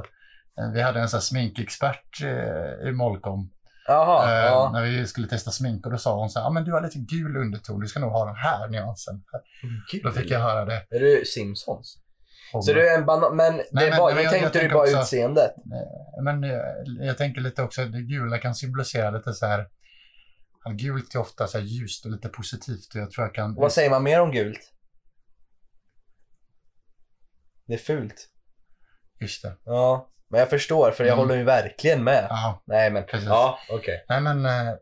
S2: eh, vi hade en sån här sminkexpert eh, i Molkom.
S1: Jaha,
S2: Eh,
S1: ja.
S2: När vi skulle testa smink och då sa hon så här, ah, men du har lite gul underton, du ska nog ha den här nyansen. Då fick jag höra det.
S1: Är du Simpsons?
S2: om-
S1: Så du är en banan, men det
S2: Nej, men-
S1: var,
S2: nej, men
S1: nu
S2: jag- jag
S1: tänkte du
S2: tänker
S1: bara
S2: också-
S1: utseendet.
S2: Men eh, jag tänker lite också, det gula kan symbolisera lite så här, gult är ofta så här ljust och lite positivt och jag tror jag kan...
S1: Vad säger man mer om gult? Det är fult.
S2: Just det.
S1: Ja, men jag förstår för jag
S2: Mm.
S1: håller ju verkligen med.
S2: Ja,
S1: Nej men,
S2: Precis.
S1: ja okej.
S2: nej men eh,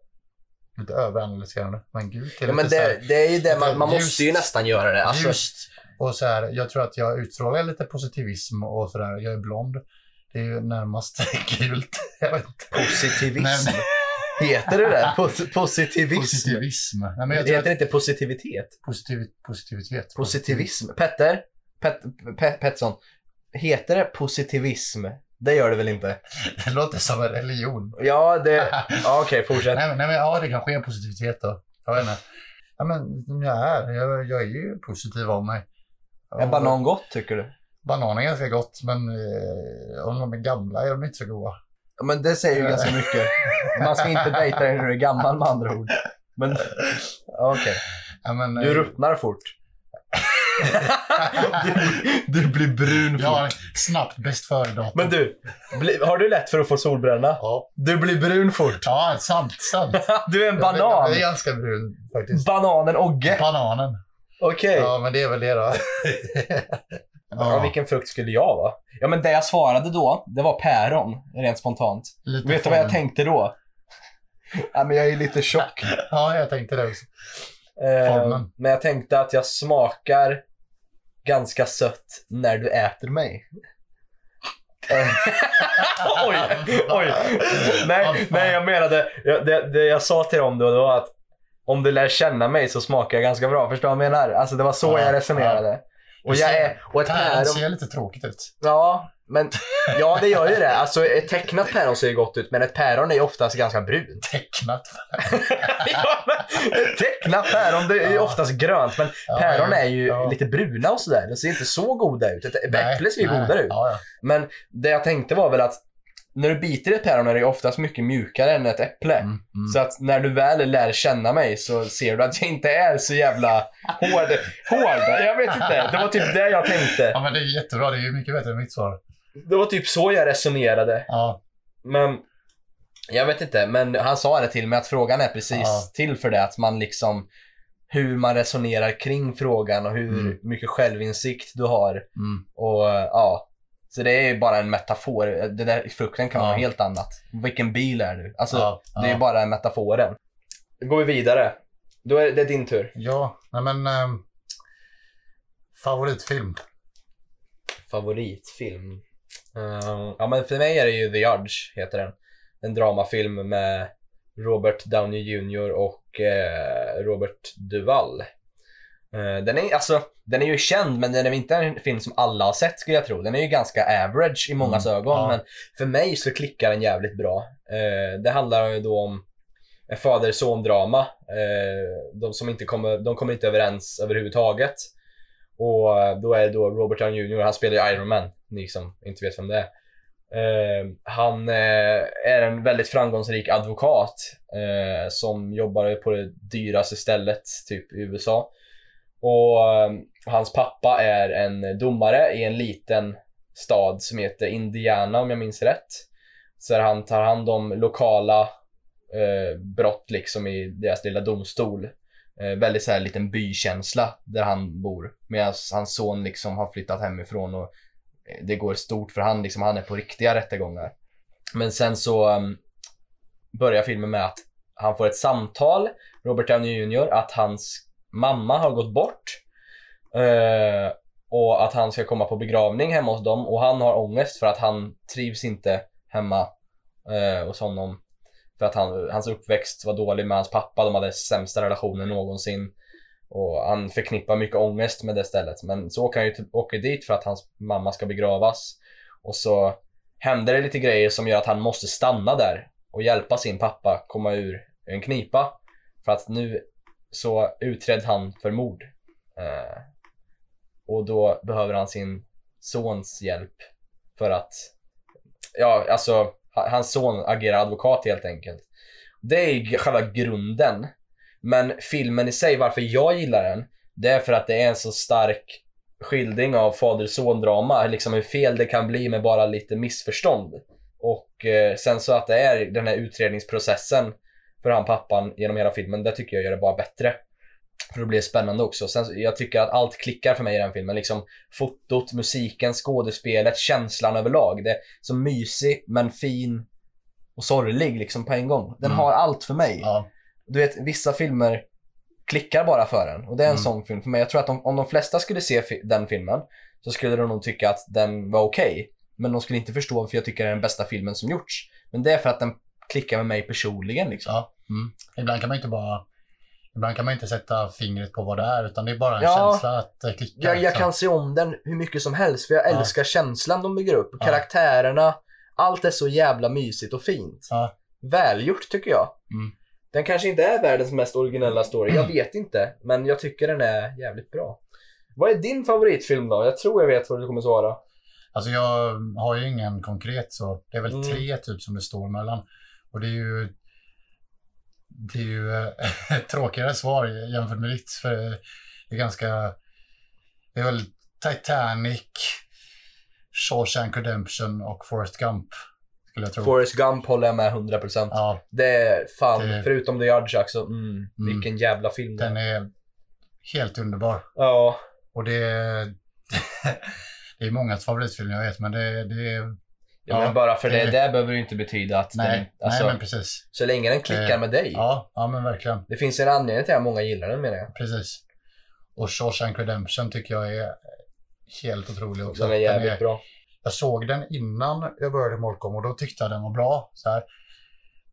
S2: lite överanalyserande, men gult är
S1: Ja, men
S2: lite så
S1: det,
S2: här,
S1: det är ju det,
S2: lite
S1: man, man
S2: ljust.
S1: måste ju nästan göra det. Alltså,
S2: ljust. Och så här, jag tror att jag utstrålar lite positivism och sådär, jag är blond. Det är ju närmast gult. Jag vet inte.
S1: positivism.
S2: Nej, men-
S1: Heter det det? Pos- positivism?
S2: Positivism. Nej, men
S1: Det
S2: jag tror
S1: heter
S2: att
S1: inte positivitet?
S2: positiv, positivitet.
S1: Positivism. Petter? Pet, Pe- Petson? Heter det positivism? Det gör det väl inte?
S2: Det låter som en religion.
S1: Ja, det... Ja, okej, fortsätt.
S2: Nej, men- nej men ja, det kanske är positivitet då. Jag vet inte. Ja, men som jag är, jag, jag är ju positiv av mig.
S1: Är
S2: Och
S1: banan gott tycker du?
S2: Banan är ganska gott, men eh, om de är gamla är de inte så goda.
S1: Ja, Men det säger ju ganska mycket. Man ska inte dejta dig när du är gammal med andra ord. Men okej,
S2: Ja, men, eh,
S1: du ruttnar fort. du, du blir brun
S2: Jag har snabbt bäst före-datum.
S1: Men du, bli, har du lätt för att få solbränna?
S2: Ja.
S1: Du blir brun fort.
S2: ja, sant, sant.
S1: Du är en
S2: Jag
S1: banan.
S2: är ganska brun faktiskt.
S1: Bananen Ogge.
S2: Bananen.
S1: Okej.
S2: Ja, men det är väl det då.
S1: Ja.
S2: ja,
S1: vilken frukt skulle jag vara? Ja, men det jag svarade då, det var päron, rent spontant.
S2: lite
S1: Vet du vad jag
S2: form.
S1: tänkte då? ja, men jag är lite tjock.
S2: Ja, jag tänkte det också.
S1: eh,
S2: Formen.
S1: men jag tänkte att jag smakar ganska sött när du äter mig. Eh, oj, oj.
S2: Vad
S1: Nej,
S2: fan.
S1: nej jag menade, jag, det, det jag sa till dem då, det var att om du lär känna mig så smakar jag ganska bra. Förstår du vad jag menar? Alltså det var så
S2: Ja,
S1: jag resonerade. Och,
S2: Du
S1: jag
S2: ser-
S1: är, och ett
S2: Päron
S1: päron
S2: ser lite tråkigt ut.
S1: Ja, men ja det gör ju det. Alltså ett tecknat päron ser ju gott ut, men ett päron är ju oftast ganska brunt.
S2: Tecknat.
S1: ja, men, ett tecknat päron det är ju
S2: Ja.
S1: oftast grönt, men
S2: Ja,
S1: päron
S2: ja,
S1: är ju
S2: ja.
S1: lite bruna och sådär. De ser inte så goda ut. Ett
S2: Nej,
S1: äpple ser ju
S2: nej,
S1: godare ut.
S2: Ja, ja.
S1: Men det jag tänkte var väl att när du biter i ett päron är det ju oftast mycket mjukare än ett äpple.
S2: Mm, mm.
S1: Så att när du väl lär känna mig så ser du att jag inte är så jävla hård. Hård? Jag vet inte. Det var typ det jag tänkte.
S2: Ja, men det är jättebra. Det är ju mycket bättre än mitt svar.
S1: Det var typ så jag resonerade.
S2: Ja,
S1: Men jag vet inte, men han sa det till mig att frågan är precis
S2: Ja.
S1: till för det. Att man liksom hur man resonerar kring frågan och hur
S2: Mm.
S1: mycket självinsikt du har.
S2: Mm.
S1: Och ja, så det är ju bara en metafor. Det där frukten kan vara
S2: Ja.
S1: helt annat. Vilken bil är du? Alltså,
S2: ja,
S1: det är
S2: ja.
S1: ju bara metaforen. Då går vi vidare. Då är det din tur.
S2: Ja, nej men... ehm, favoritfilm?
S1: Favoritfilm? Eh, ja men för mig är det ju The Judge, heter den. En dramafilm med Robert Downey Jr och eh, Robert Duvall. Eh, den, är, alltså, den är ju känd men den är inte en film som alla har sett skulle jag tro. Den är ju ganska average i mångas ögon
S2: ja.
S1: men för mig så klickar den jävligt bra. Eh, det handlar ju då om en fader-son-drama. Eh, de, som inte kommer, de kommer inte överens överhuvudtaget. Och då är det då Robert Downey Jr. Han spelar ju Iron Man, ni som inte vet vem det är. Eh, han eh, är en väldigt framgångsrik advokat eh, som jobbar på det dyraste stället typ i USA. Och eh, hans pappa är en domare i en liten stad som heter Indiana om jag minns rätt. Så där han tar hand om lokala eh, brott liksom i deras lilla domstol. Eh, väldigt så här liten bykänsla där han bor. Medan hans son liksom har flyttat hemifrån och eh, det går stort för han liksom. Han är på riktiga rättegångar. Men sen så ehm, börjar filmen med att han får ett samtal, Robert Downey Jr, att hans mamma har gått bort. Eh, och att han ska komma på begravning hemma hos dem och han har ångest för att han trivs inte hemma eh, hos honom. För att han, hans uppväxt var dålig med hans pappa, de hade sämsta relationen någonsin. Och han förknippar mycket ångest med det stället. Men så åker han ju typ, åker dit för att hans mamma ska begravas. Och så händer det lite grejer som gör att han måste stanna där och hjälpa sin pappa komma ur en knipa. För att nu så utreds han för mord. Eh, och då behöver han sin sons hjälp för att, ja alltså, ha- hans son agerar advokat helt enkelt. Det är ju själva grunden. Men filmen i sig, varför jag gillar den, det är för att det är en så stark skildring av fader-son-drama, liksom hur fel det kan bli med bara lite missförstånd. Och eh, sen så att det är den här utredningsprocessen för han pappan genom hela filmen, det tycker jag gör det bara bättre. För det blir spännande också. Sen, så- jag tycker att allt klickar för mig i den filmen. Liksom fotot, musiken, skådespelet, känslan överlag. Det är så mysig men fin och sorglig liksom på en gång. Den
S2: Mm.
S1: har allt för mig
S2: Ja.
S1: du vet, vissa filmer klickar bara för en. Och det är en
S2: Mm.
S1: sån film för mig. Jag tror att om, om de flesta skulle se fi- den filmen så skulle de nog tycka att den var okej. Men de skulle inte förstå varför jag tycker det är den bästa filmen som gjorts. Men det är för att den klickar med mig personligen liksom.
S2: Ja. Mm. Ibland kan man inte bara... Ibland kan man inte sätta fingret på vad det är, utan det är bara en
S1: Ja.
S2: känsla att det klickar.
S1: Jag, jag
S2: liksom.
S1: kan se om den hur mycket som helst för jag
S2: Ja.
S1: älskar känslan de bygger upp.
S2: Ja.
S1: Karaktärerna. Allt är så jävla mysigt och fint.
S2: Ja.
S1: Välgjort tycker jag.
S2: Mm.
S1: Den kanske inte är världens mest originella story. Jag vet inte. Men jag tycker den är jävligt bra. Vad är din favoritfilm då? Jag tror jag vet vad du kommer svara.
S2: Alltså jag har ju ingen konkret så. Det är väl
S1: Mm.
S2: tre typ som det står mellan. Och det är ju... Det är ju eh, ett tråkigare svar jämfört med ditt. För det är ganska... Det är väl Titanic, Shawshank Redemption och Forrest Gump. Skulle jag tro.
S1: Forrest Gump håller jag med 100%.
S2: ja,
S1: Det är fan,
S2: Det-
S1: förutom The Judge också. Mm, Vilken jävla film det
S2: den
S1: är.
S2: är helt underbar.
S1: Ja.
S2: Och det är... det är många favoritfilmer jag vet, men det, det är...
S1: Ja,
S2: Ja,
S1: men bara för det,
S2: det-
S1: det där behöver ju inte betyda att
S2: Nej,
S1: den, alltså,
S2: nej men precis.
S1: så länge den klickar
S2: Eh,
S1: med dig.
S2: Ja, ja men verkligen.
S1: Det finns en anledning till att många gillar den menar jag.
S2: Precis. Och Shawshank Redemption tycker jag är helt otrolig också.
S1: Den är jävligt bra.
S2: jag såg den innan jag började i Molkom och då tyckte jag den var bra. Så här.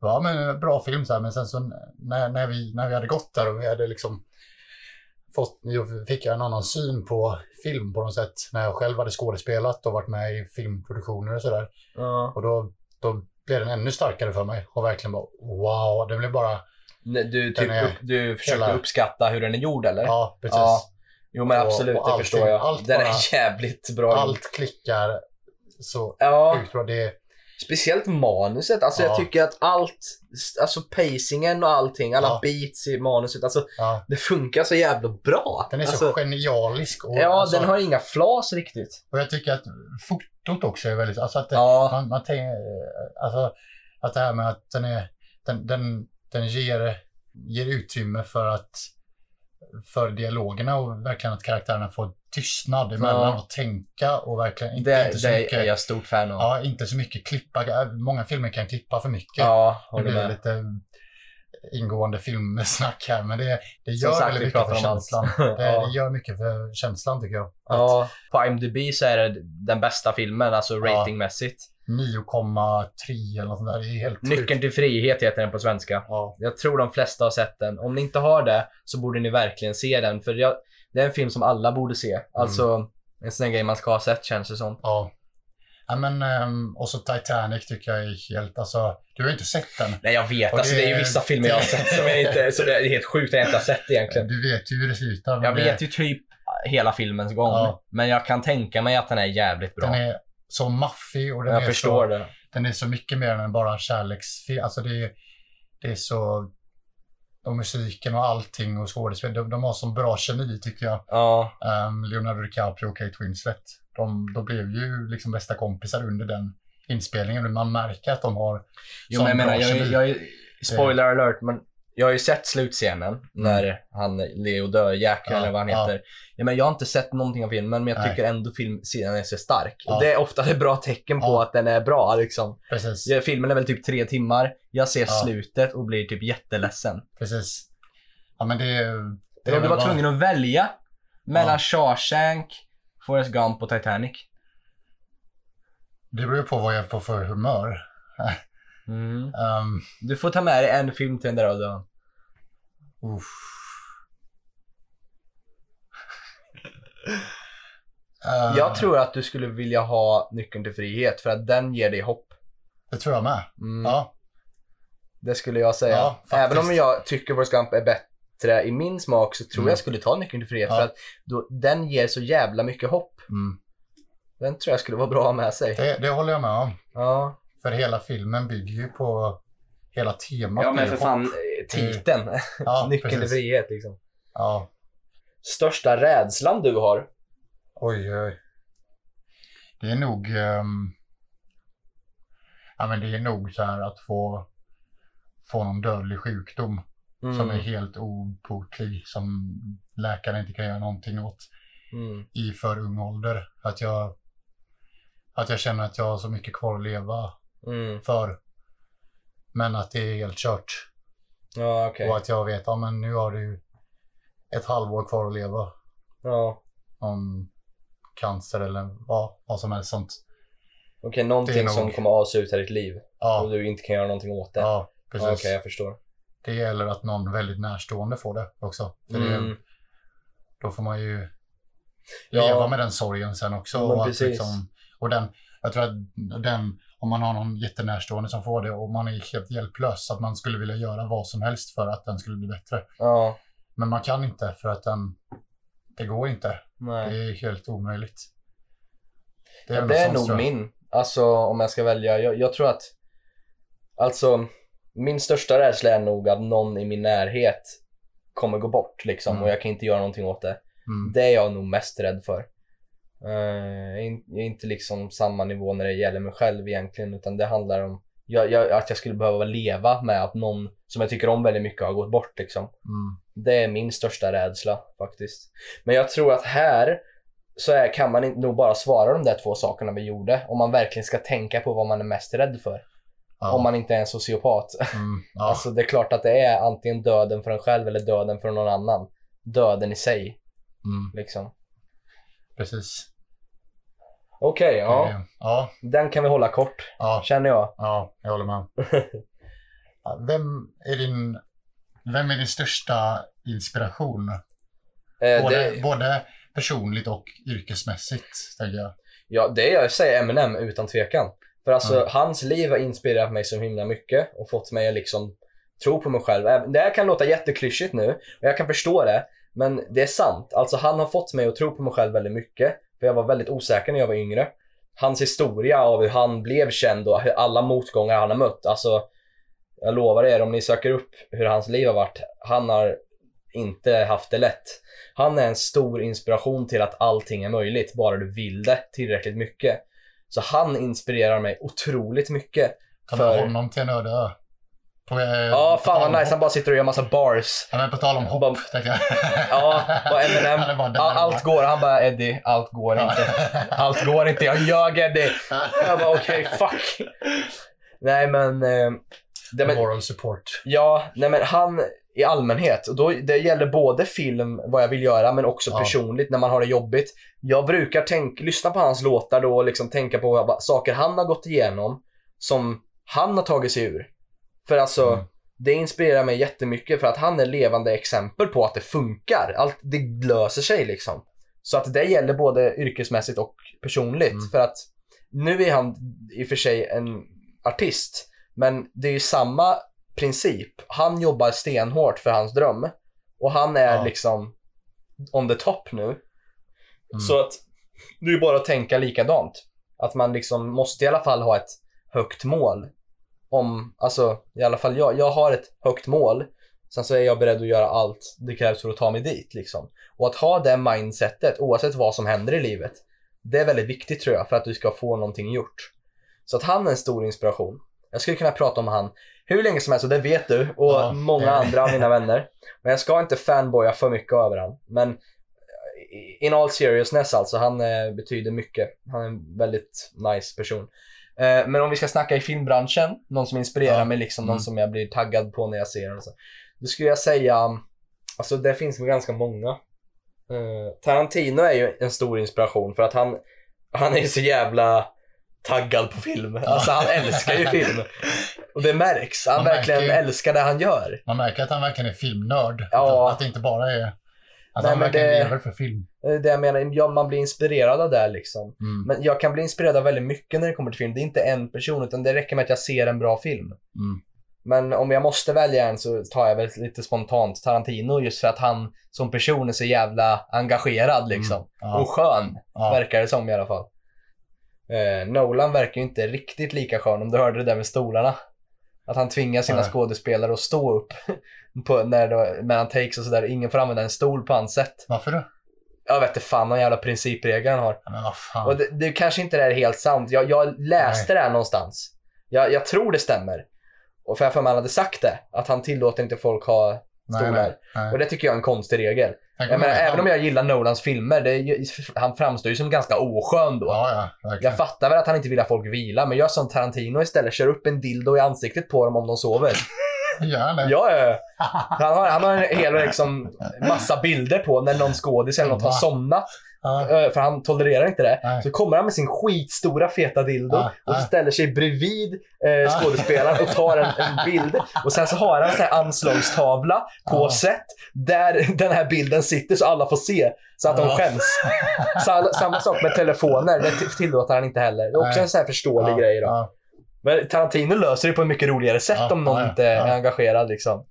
S2: Ja, men bra film så här. Men sen så när, när, vi, när vi hade gått där och vi hade liksom fått, då fick jag en annan syn på film på något sätt. När jag själv hade skådespelat och varit med i filmproduktioner och sådär.
S1: Ja.
S2: Och då, då blev den ännu starkare för mig och verkligen bara wow, det blev bara,
S1: Nej, Du,
S2: Den
S1: typ,
S2: är-
S1: upp, du försökte
S2: hela-
S1: uppskatta hur den är gjord eller?
S2: ja precis.
S1: Ja. Jo men
S2: Och-
S1: absolut,
S2: och
S1: det
S2: allting-
S1: förstår jag.
S2: allt
S1: den
S2: bara-
S1: är jävligt bra. gjord.
S2: Allt klickar så
S1: Ja,
S2: sjukt bra. Det,
S1: Speciellt manuset. Alltså
S2: Ja.
S1: jag tycker att allt, alltså pacingen och allting, alla
S2: Ja.
S1: beats i manuset, alltså
S2: Ja.
S1: det funkar så jävla bra.
S2: Den är
S1: alltså,
S2: så genialisk. Och,
S1: Ja,
S2: alltså,
S1: den har inga flas riktigt.
S2: och jag tycker att fotot också är väldigt... Alltså att det,
S1: Ja,
S2: man, man tänker, eh, alltså, att det här med att den, är, den, den, den ger, ger utrymme för att för dialogerna och verkligen att karaktärerna får tystnad emellan och tänka och verkligen inte,
S1: det,
S2: inte så
S1: det
S2: mycket
S1: är jag stort fan av.
S2: Ja, inte så mycket klippa. Många filmer kan klippa för mycket.
S1: Ja,
S2: det
S1: håller
S2: blir
S1: med.
S2: lite mm, ingående filmsnack här, men det, det gör
S1: sagt, vi
S2: väldigt mycket
S1: pratar
S2: för
S1: om allt.
S2: känslan. Det,
S1: Ja.
S2: det gör mycket för känslan tycker jag. Att
S1: Ja,
S3: På IMDB så är det den bästa filmen, alltså
S2: Ja.
S3: ratingmässigt.
S2: 9,3 eller något sånt där, det är helt
S1: Mm.
S3: Nyckeln till frihet heter den på svenska.
S2: Ja.
S3: Jag tror de flesta har sett den. Om ni inte har det så borde ni verkligen se den. För jag, det är en film som alla borde se. Alltså en sån här grej man ska ha sett känns det som.
S2: ja. Ja, men, ehm, och så Titanic tycker jag är helt, alltså, du har ju inte sett den.
S3: Nej jag vet,
S2: Och
S3: alltså, det är ju
S2: det-
S3: vissa filmer jag har sett som jag inte, så det är helt sjukt att jag inte har sett egentligen.
S2: Du vet ju hur det slutar. men
S3: Jag
S2: det,
S3: vet ju typ hela filmens gång.
S2: Ja.
S3: Men jag kan tänka mig att den är jävligt bra.
S2: Den är så maffig och den
S3: jag
S2: är
S3: förstår
S2: så,
S3: det.
S2: den är så mycket mer än bara en kärleksfilm. Alltså det, är- det är så... Och musiken och allting och skådespel. De, de har sån bra kemi tycker jag.
S3: Ja,
S2: Ehm, Leonardo DiCaprio och Kate Winslet. De, de blev ju liksom bästa kompisar under den inspelningen. Man märker att de har
S3: jo,
S2: sån
S3: men jag menar,
S2: bra
S3: jag,
S2: kemi.
S3: jag, spoiler alert, men jag har ju sett slutscenen när han, Leo dör, Jack
S2: Mm. Ja,
S3: eller vad han
S2: ja.
S3: heter. Ja, men jag har inte sett någonting av filmen, men jag
S2: Nej.
S3: tycker ändå filmscenen är så stark.
S2: Ja.
S3: Det är ofta ett bra tecken på
S2: Ja.
S3: att den är bra. Liksom.
S2: Precis,
S3: Ja, Filmen är väl typ tre timmar. Jag ser
S2: Ja.
S3: slutet och blir typ jätteledsen.
S2: precis. Ja men det... är- det är
S3: Om du
S2: väl
S3: var
S2: bara-
S3: tvungen att välja mellan
S2: Ja.
S3: Shawshank, Forrest Gump och Titanic.
S2: Det beror ju på vad jag får för humör. Ehm,
S3: Du får ta med dig en film till den där dagen.
S2: Uff. Eh,
S3: Jag tror att du skulle vilja ha Nyckeln till frihet för att den ger dig hopp.
S2: Det tror jag med.
S3: Mm.
S2: Ja,
S3: Det skulle jag säga.
S2: Ja, faktiskt.
S3: Även om jag tycker Forrest Gump är bättre i min smak så tror
S2: Mm.
S3: jag skulle ta Nyckeln till frihet
S2: Ja.
S3: för att då, den ger så jävla mycket hopp.
S2: mm.
S3: Den tror jag skulle vara bra att ha med sig.
S2: det, det håller jag med om.
S3: Ja.
S2: För hela filmen bygger ju på hela temat.
S4: Ja men
S2: är
S4: för
S2: ju-
S4: fan.
S3: Titeln.
S2: Mm. Ja,
S3: Nyckeln till
S2: precis.
S3: frihet liksom.
S2: Ja,
S4: Största rädslan du har?
S2: oj, oj. Det är nog... ehm, Ja, men det är nog så här att få, få någon dödlig sjukdom som är
S3: Mm.
S2: helt obotlig, som läkaren inte kan göra någonting åt.
S3: Mm.
S2: i för ung ålder. Att jag, att jag känner att jag har så mycket kvar att leva
S3: Mm.
S2: för. Men att det är helt kört.
S3: Ja, okej.
S2: Och att jag vet, ja men nu har du ett halvår kvar att leva.
S3: Ja.
S2: Om cancer eller ja, vad som helst sånt.
S3: Okej, någonting
S2: nog-
S3: som kommer asa ut här i ditt liv och
S2: Ja,
S3: du inte kan göra någonting åt det.
S2: ja
S3: Ja, Okej,
S2: precis.
S3: jag förstår.
S2: Det gäller att någon väldigt närstående får det också. För det,
S3: Mm.
S2: då får man ju
S3: Ja.
S2: leva med den sorgen sen också.
S3: Men
S2: och, att
S3: precis.
S2: liksom, och den, jag tror att den, om man har någon jättenärstående som får det och man är helt hjälplös, att man skulle vilja göra vad som helst för att den skulle bli bättre.
S3: Ja.
S2: Men man kan inte för att den, det går inte.
S3: Nej.
S2: Det är helt omöjligt.
S3: Det
S2: väl
S3: är,
S2: något
S3: det är
S2: sånt,
S3: nog
S2: tror jag.
S3: min. Alltså om jag ska välja. Jag, jag tror att Alltså min största rädsla är nog att någon i min närhet kommer gå bort liksom
S2: Mm.
S3: och jag kan inte göra någonting åt det.
S2: Mm.
S3: Det är jag nog mest rädd för. Eh, jag är in- jag är inte liksom samma nivå när det gäller mig själv egentligen utan det handlar om jag, jag, att jag skulle behöva leva med att någon som jag tycker om väldigt mycket har gått bort liksom.
S2: Mm.
S3: Det är min största rädsla faktiskt. Men jag tror att här så är, kan man inte- nog bara svara de där två sakerna vi gjorde om man verkligen ska tänka på vad man är mest rädd för.
S2: Ja.
S3: Om man inte är en sociopat.
S2: Mm. Ja.
S3: Alltså det är klart att det är antingen döden för en själv eller döden för någon annan. Döden i sig
S2: Mm.
S3: liksom.
S2: Precis.
S3: Okej,
S2: Det
S3: ja.
S2: är- ja.
S3: Den kan vi hålla kort
S2: Ja.
S3: känner jag.
S2: Ja, jag håller med. Ja, Vem är din, vem är din största inspiration?
S3: Eh,
S2: Både,
S3: det,
S2: både personligt och yrkesmässigt, tänker jag.
S3: ja, det är jag säger Eminem utan tvekan. För alltså
S2: Mm.
S3: hans liv har inspirerat mig så himla mycket och fått mig att liksom tro på mig själv. Även- Det här kan låta jätteklyschigt nu och jag kan förstå det. Men det är sant. Alltså han har fått mig att tro på mig själv väldigt mycket. För jag var väldigt osäker när jag var yngre.
S1: hans historia av hur han blev känd och hur alla motgångar han har mött. Alltså, jag lovar er, om ni söker upp hur hans liv har varit, han har inte haft det lätt. Han är en stor inspiration till att allting är möjligt, bara du vill det tillräckligt mycket. Så han inspirerar mig otroligt mycket.
S2: Ta
S1: För-
S2: med honom till en öde ö. På, eh,
S1: Ja,
S2: på tal
S1: fan
S2: om
S1: vad nice, han
S2: hopp.
S1: bara sitter och gör massa bars.
S2: Ja, men på tal om hopp,
S1: Bara-
S2: tänkte jag.
S1: Ja, och Eminem.
S2: Han är bara där
S1: Ja, allt
S2: bara.
S1: går, han bara Eddie, allt går inte. Allt går inte, jag ljög Eddie. Jag bara okej, fuck. Nej men, eh, det, men
S2: Moral support.
S1: Ja, nej men han i allmänhet. Och då, det gäller både film, vad jag vill göra, men också
S2: Ja.
S1: personligt när man har det jobbigt. Jag brukar tänk, lyssna på hans låtar då och liksom tänka på vad, saker han har gått igenom som han har tagit sig ur. För alltså,
S2: Mm.
S1: det inspirerar mig jättemycket för att han är levande exempel på att det funkar. Allt, det löser sig liksom. Så att det gäller både yrkesmässigt och personligt.
S2: Mm.
S1: För att nu är han i och för sig en artist, men det är ju samma princip. Han jobbar stenhårt för hans dröm och han är
S2: Ja.
S1: liksom on the top nu.
S2: Mm.
S1: Så att det är ju bara att tänka likadant. Att man liksom måste i alla fall ha ett högt mål. Om, alltså i alla fall jag, jag har ett högt mål. Sen så är jag beredd att göra allt det krävs för att ta mig dit liksom. Och att ha det mindsetet oavsett vad som händer i livet. Det är väldigt viktigt tror jag för att du ska få någonting gjort. Så att han är en stor inspiration. Jag skulle kunna prata om han hur länge som helst och det vet du och
S2: Ja,
S1: många
S2: det-
S1: andra av mina vänner. Men jag ska inte fanboya för mycket över han. Men eh, in all seriousness alltså, han eh, betyder mycket. Han är en väldigt nice person. Eh, men om vi ska snacka i filmbranschen, någon som inspirerar
S2: Ja.
S1: mig, liksom,
S2: Mm.
S1: någon som jag blir taggad på när jag ser den. och Så. Då skulle jag säga, alltså det finns väl ganska många. Eh, Tarantino är ju en stor inspiration för att han, han är ju så jävla taggad på film. Alltså han älskar ju film. Och det märks. Han
S2: Man
S1: verkligen
S2: märker ju.
S1: älskar det han gör.
S2: Man märker att han verkligen är filmnörd.
S1: Ja.
S2: Att, att det inte bara är... Att
S1: Nej,
S2: han
S1: men
S2: verkligen
S1: det-
S2: lever för film.
S1: Det är Eh, det jag menar, ja, man blir inspirerad av det liksom.
S2: Mm.
S1: Men jag kan bli inspirerad av väldigt mycket när det kommer till film. Det är inte en person, utan det räcker med att jag ser en bra film.
S2: Mm.
S1: Men om jag måste välja en så tar jag väl lite spontant Tarantino just för att han som person är så jävla engagerad liksom.
S2: Ja.
S1: Och skön,
S2: Ja.
S1: verkar det som i alla fall. Eh, Nolan verkar ju inte riktigt lika skön, om du hörde det där med stolarna. Att han tvingar sina
S2: Nej.
S1: skådespelare att stå upp på, när, det- mellan takes och sådär. Ingen får använda en stol på hans sätt.
S2: Varför då?
S1: Jag vet inte fan någon jävla principregel han har.
S2: Ja, men vad fan.
S1: Och det, det kanske inte är helt sant. Jag, jag läste det här någonstans. Jag, jag tror det stämmer. Och för jag har för mig han hade sagt det. Att han tillåter inte folk ha stolar.
S2: nej.
S1: Och det tycker jag är en konstig regel.
S2: Tänk
S1: Jag menar,
S2: han-
S1: även om jag gillar Nolans filmer, det är ju, han framstår ju som ganska oskön då.
S2: Ja, ja. Verkligen.
S1: Jag fattar väl att han inte vill att folk vila, men gör som Tarantino istället. Kör upp en dildo i ansiktet på dem om de sover.
S2: Gör han det?
S1: Ja, ja. Han har, han har en hel liksom, massa bilder på när någon skådis eller något har somnat.
S2: Ja.
S1: Eh, för han tolererar inte det.
S2: Nej.
S1: Så kommer han med sin skitstora feta dildo
S2: Ah,
S1: och så
S2: ah.
S1: ställer sig bredvid eh, skådespelaren och tar en, en bild. Och sen så har han en sån här anslagstavla på
S2: Ah.
S1: set där den här bilden sitter så alla får se. Så att de
S2: Ja.
S1: skäms. Så alla- samma sak med telefoner, det till- tillåter han inte heller. Det är också
S2: Nej.
S1: en sån här förståelig
S2: Ja,
S1: grej. Då.
S2: ja.
S1: Men Tarantino löser det på ett mycket roligare sätt
S2: Ja,
S1: om någon
S2: ja, ja.
S1: inte är engagerad. Liksom.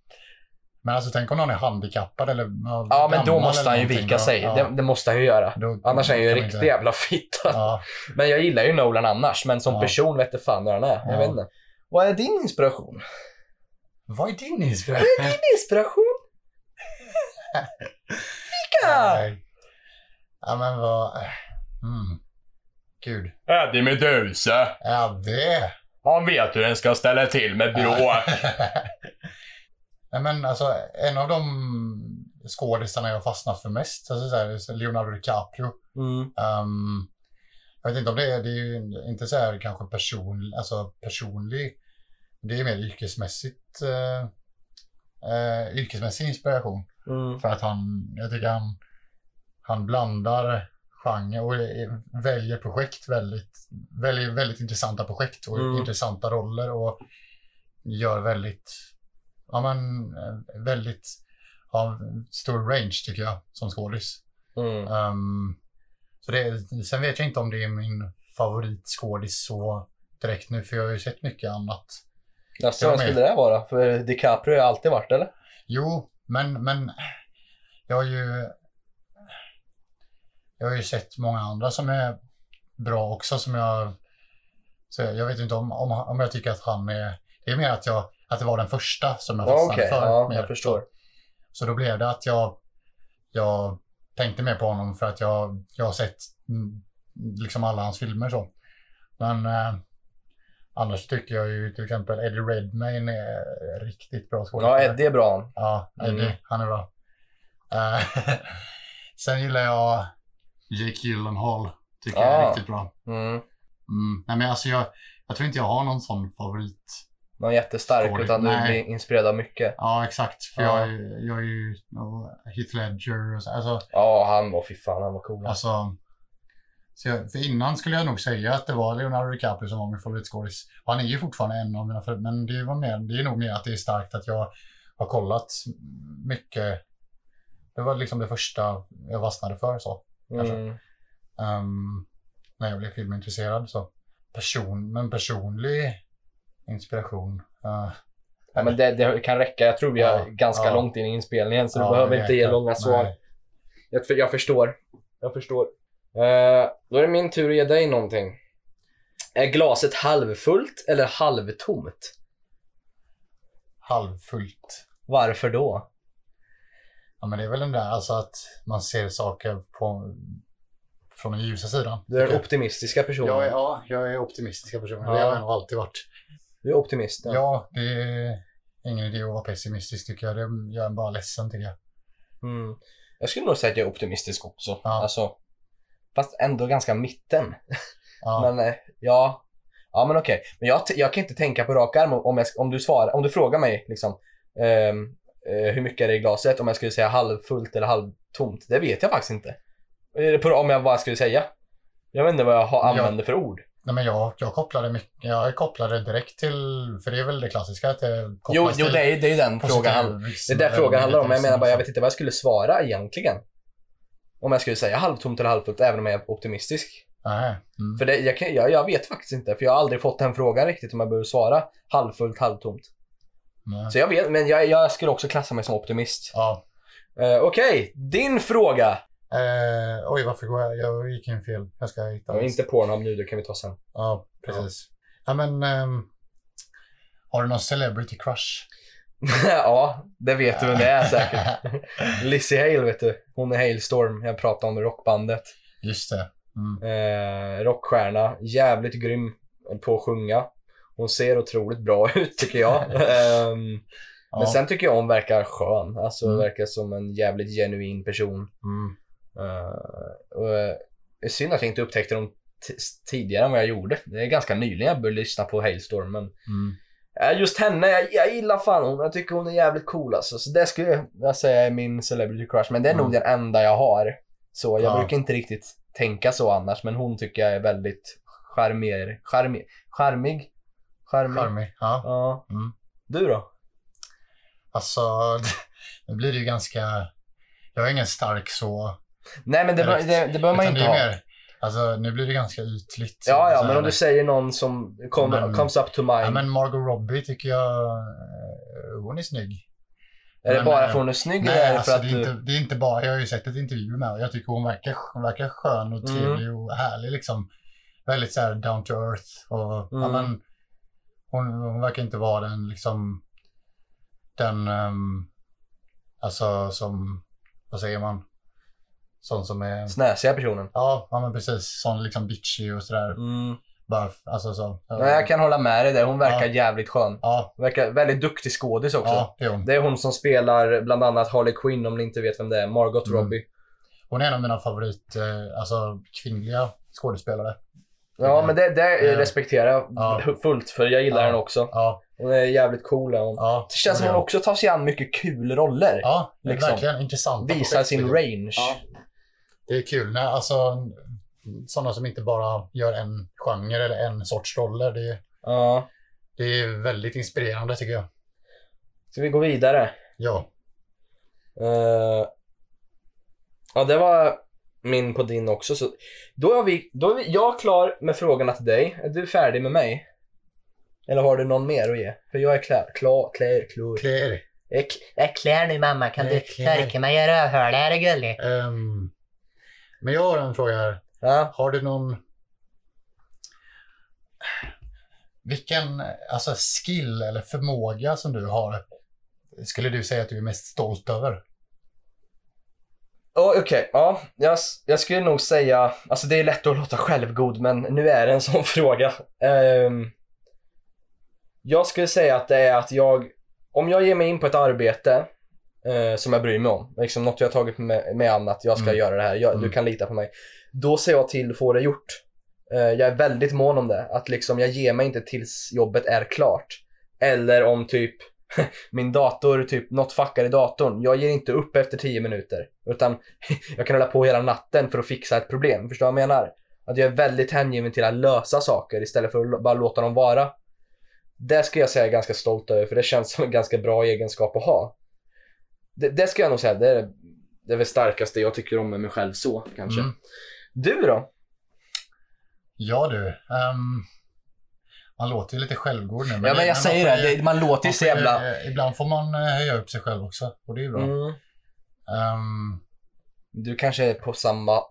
S2: Men alltså tänk om någon är handikappad eller Ja,
S1: Ja, men då
S2: gammal
S1: måste
S2: eller
S1: han ju
S2: någonting,
S1: vika
S2: då-
S1: sig.
S2: ja,
S1: Det, det måste han ju göra.
S2: då-
S1: Annars är han ju en
S2: kan man
S1: riktig
S2: inte-
S1: jävla fitta.
S2: Ja,
S1: Men jag gillar ju Nolan annars, men som
S2: Ja.
S1: person vet jag fan hur han är. Jag
S2: Ja.
S1: vet inte. Vad är din inspiration?
S2: Vad är din inspiration?
S1: Vad är din inspiration? Fika!
S2: Nej. Ja, men vad... Mm. Gud.
S5: Eddie Meduza.
S2: Ja, det.
S5: Han vet hur den ska ställa till med bråk.
S2: Nej, men alltså, en av de skådisarna jag har fastnat för mest, alltså, så här, Leonardo DiCaprio.
S1: Mm.
S2: Ehm, jag vet inte om det är, det är ju inte så här kanske person, alltså personlig, det är mer yrkesmässigt, eh, eh, yrkesmässig inspiration.
S1: Mm.
S2: För att han, jag tycker han, han blandar genre och är- väljer projekt väldigt, väljer väldigt intressanta projekt och
S1: Mm.
S2: intressanta roller och gör väldigt, ja men eh, väldigt, har stor range tycker jag som skådis.
S1: Mm.
S2: Ehm, så det, sen vet jag inte om det är min favoritskådis så direkt nu, för jag har ju sett mycket annat.
S1: Alltså,
S2: Jag
S1: vad
S2: med.
S1: skulle det vara? För DiCaprio har alltid varit, eller?
S2: Jo, men, men jag har ju jag har ju sett många andra som är bra också som jag... Så jag jag vet inte om, om, om jag tycker att han är... Det är mer att, jag, att det var den första som jag
S1: Ja,
S2: fastnade
S1: okej.
S2: för.
S1: Ja,
S2: mer.
S1: jag förstår.
S2: Så då blev det att jag, jag tänkte mer på honom för att jag, jag har sett mm, liksom alla hans filmer så. Men eh, annars tycker jag ju till exempel Eddie Redmayne är riktigt bra
S1: Ja, Eddie är bra han.
S2: Ja, Eddie.
S1: Mm.
S2: Han är bra. Eh, Sen gillar jag Jake Gyllenhaal. Tycker jag är
S1: Ah.
S2: riktigt bra.
S1: Mm.
S2: Mm. Nej, men alltså jag, jag tror inte jag har någon sån favorit.
S1: Någon jättestark,
S2: Story.
S1: utan du
S2: Nej.
S1: blir inspirerad av mycket.
S2: Ja, exakt. För
S1: Ja.
S2: jag, är ju- jag är ju ja, Heath Ledger och så. Alltså,
S1: Ja, han var, fy fan, han var cool.
S2: Alltså, så jag, för innan skulle jag nog säga att det var Leonardo DiCaprio som var min favoritskådis. Och Han är ju fortfarande en av mina favoriter, men det, var mer, det är nog mer att det är starkt att jag har kollat mycket. Det var liksom det första jag fastnade för så.
S1: Mm.
S2: alltså. Ehm, när jag blev filmintresserad så. Person, men personlig inspiration. eh,
S1: Ja, men det, det kan räcka. Jag tror vi
S2: Ja,
S1: är ganska
S2: ja.
S1: långt in i inspelningen, så
S2: ja,
S1: du behöver
S2: det
S1: inte ge
S2: räcker.
S1: långa svar.
S2: Nej.
S1: Jag, jag förstår. Jag förstår. Eh, då är det min tur att ge dig någonting. Är glaset halvfullt eller halvtomt?
S2: Halvfullt.
S1: Varför då?
S2: Ja, men det är väl den där alltså att man ser saker på, från den ljusa sidan. Typ.
S1: Du är
S2: tycker
S1: den
S2: jag.
S1: optimistiska personen.
S2: Jag är, ja, jag är optimistiska personer. Det
S1: Ja.
S2: har jag nog alltid varit.
S1: Du är optimist.
S2: Ja. det är ingen idé att vara pessimistisk tycker jag. Det gör en bara ledsen tycker jag.
S1: Mm. Jag skulle nog säga att jag är optimistisk också.
S2: Ja.
S1: Alltså, fast ändå ganska mitten.
S2: Ja,
S1: Men eh, ja. Ja men okej. Men jag, t- jag kan inte tänka på rak arm om, jag, sk- om, du, svarar, om du frågar mig liksom, ehm, eh, hur mycket är det i glaset, om jag skulle säga halvfullt eller halvtomt. Det vet jag faktiskt inte. Eh, På, om jag vad jag skulle säga. Jag vet inte vad jag har,
S2: Ja.
S1: använder för ord.
S2: Nej, men jag, jag, kopplade mycket, jag kopplade direkt till, för det är väl det klassiska att det kopplas
S1: Jo, jo
S2: till
S1: det, är, ju- det är ju den frågan. Han, det är där frågan handlar om. Men jag menar
S2: alltså.
S1: bara, jag vet inte vad jag skulle svara egentligen. Om jag skulle säga halvtomt eller halvfullt, även om jag är optimistisk.
S2: Nej. Mm.
S1: För det, jag, kan, jag, jag vet faktiskt inte, för jag har aldrig fått den frågan riktigt om jag behöver svara halvfullt, halvtomt.
S2: Nej.
S1: Så jag vet, men jag, jag skulle också klassa mig som optimist.
S2: Ja.
S1: Eh, Okej, din fråga!
S2: Eh, oj, varför går jag? Jag gick in fel. Jag ska hitta.
S1: Ja, inte Pornhub nu, det kan vi ta sen.
S2: Ja, precis. Ja, men ehm, har du någon celebrity crush?
S1: ja, det vet du vem det är säkert. Lizzie Hale vet du. Hon är Hailstorm, jag pratade om i rockbandet.
S2: Just det. Mm.
S1: Eh, rockstjärna, jävligt grym på att sjunga. Hon ser otroligt bra ut tycker jag. Ehm,
S2: Ja.
S1: Men sen tycker jag hon verkar skön. Alltså
S2: Mm.
S1: verkar som en jävligt genuin person.
S2: Mm.
S1: Eh, och, eh, synd att jag inte upptäckte dem t- tidigare än vad jag gjorde. Det är ganska nyligen jag började lyssna på Hailstorm. Men
S2: Mm.
S1: eh, just henne, jag, jag gillar fan hon. Jag tycker hon är jävligt cool alltså. Så det skulle jag säga är min celebrity crush. Men det är nog
S2: Mm.
S1: den enda jag har. Så jag
S2: Ja.
S1: brukar inte riktigt tänka så annars. Men hon tycker jag är väldigt charmer, charmig. Charmig? Charmig?
S2: Charmig. Ja.
S1: Ja.
S2: Mm.
S1: Du då?
S2: Alltså, nu blir det ju ganska... Jag är ingen stark så.
S1: Nej men det, be-
S2: Direkt.
S1: det, det behöver man
S2: utan
S1: inte
S2: det är
S1: ha.
S2: mer, alltså, nu blir det ganska ytligt.
S1: Ja, ja,
S2: Så
S1: men
S2: här.
S1: om du säger någon som kom,
S2: Men-
S1: comes up to mind.
S2: Ja, men Margot Robbie tycker jag... eh, Hon är snygg.
S1: är det
S2: men,
S1: bara
S2: eh,
S1: för hon är snygg eller är
S2: Nej,
S1: det
S2: alltså,
S1: för att
S2: det,
S1: du...
S2: är inte, det är inte bara... Jag har ju sett ett intervju med henne. Jag tycker hon verkar, hon verkar skön och
S1: Mm.
S2: trevlig och härlig. Liksom. Väldigt så här down to earth. Och, ja,
S1: Mm.
S2: men, hon, hon verkar inte vara den liksom... Den... ehm, alltså som... Vad säger man? Sån som är...
S1: Snäsiga personen.
S2: Ja, ja men precis. Sån liksom bitchy och sådär.
S1: Mm.
S2: Bara, f- alltså så.
S1: Nej, jag kan hålla med dig där. Hon verkar
S2: Ja.
S1: jävligt skön.
S2: Ja,
S1: Verkar väldigt duktig skådis också.
S2: ja, det är hon.
S1: Det är hon som spelar bland annat Harley Quinn om ni inte vet vem det är. Margot
S2: Mm.
S1: Robbie.
S2: Hon är en av mina favorit, eh, alltså kvinnliga skådespelare.
S1: Ja, men det, det
S2: Mm. Ja.
S1: respekterar jag
S2: Ja.
S1: fullt för jag gillar
S2: Ja.
S1: henne också.
S2: Ja,
S1: Hon är jävligt cool. är Hon.
S2: ja.
S1: Det känns som
S2: det är
S1: hon också tar sig an mycket kul roller.
S2: Ja,
S1: liksom.
S2: verkligen intressant.
S1: Visar sin range.
S2: Ja. Det är kul när, alltså, sådana som inte bara gör en genre eller en sorts roller. Det, är-
S1: Ja.
S2: det är väldigt inspirerande tycker jag.
S1: Ska vi gå vidare?
S2: Ja,
S1: Eh, ja, det var min på din också. Så då, är vi, då är vi, jag klar med frågorna till dig. Är du färdig med mig? Eller har du någon mer att ge? För jag är klar. Klar, klar, klar.
S2: Claire.
S1: Jag är kl-
S3: Jag klär nu mamma, kan du
S2: Jag klär.
S3: torka mig i rövhålet? Är det gulligt?
S2: ehm, men jag har en fråga här.
S1: Ja.
S2: Har du någon Vilken alltså, skill eller förmåga som du har skulle du säga att du är mest stolt över?
S1: Ja, Okej, ja. Jag, jag skulle nog säga, alltså det är lätt att låta självgod men nu är det en sån fråga. Ehm, jag skulle säga att det är att jag, om jag ger mig in på ett arbete eh, som jag bryr mig om, liksom något jag har tagit med mig an att jag ska
S2: Mm.
S1: göra det här, jag,
S2: Mm.
S1: du kan lita på mig. Då ser jag till att få det gjort. Eh, jag är väldigt mån om det, att liksom jag ger mig inte tills jobbet är klart. Eller om typ min dator, typ något fuckar i datorn. Jag ger inte upp efter 10 minuter. Utan jag kan hålla på hela natten för att fixa ett problem. Förstår du vad jag menar? Att jag är väldigt hängiven till att lösa saker istället för att l- bara låta dem vara. Det ska jag säga jag är ganska stolt över för det känns som en ganska bra egenskap att ha. Det, det ska jag nog säga, det är det är väl starkaste jag tycker om med mig själv så kanske.
S2: Mm.
S1: Du då?
S2: Ja du. ehm, man låter ju lite självgod nu.
S1: ja men jag
S2: det- man
S1: säger
S2: får
S1: det,
S2: ju-
S1: det, man låter ju
S2: man
S1: så
S2: får ju-
S1: jävla...
S2: Ibland får man Alltså, eh, höja upp sig själv också och det är ju bra.
S1: Mm.
S2: Ehm,
S1: Du kanske är på samma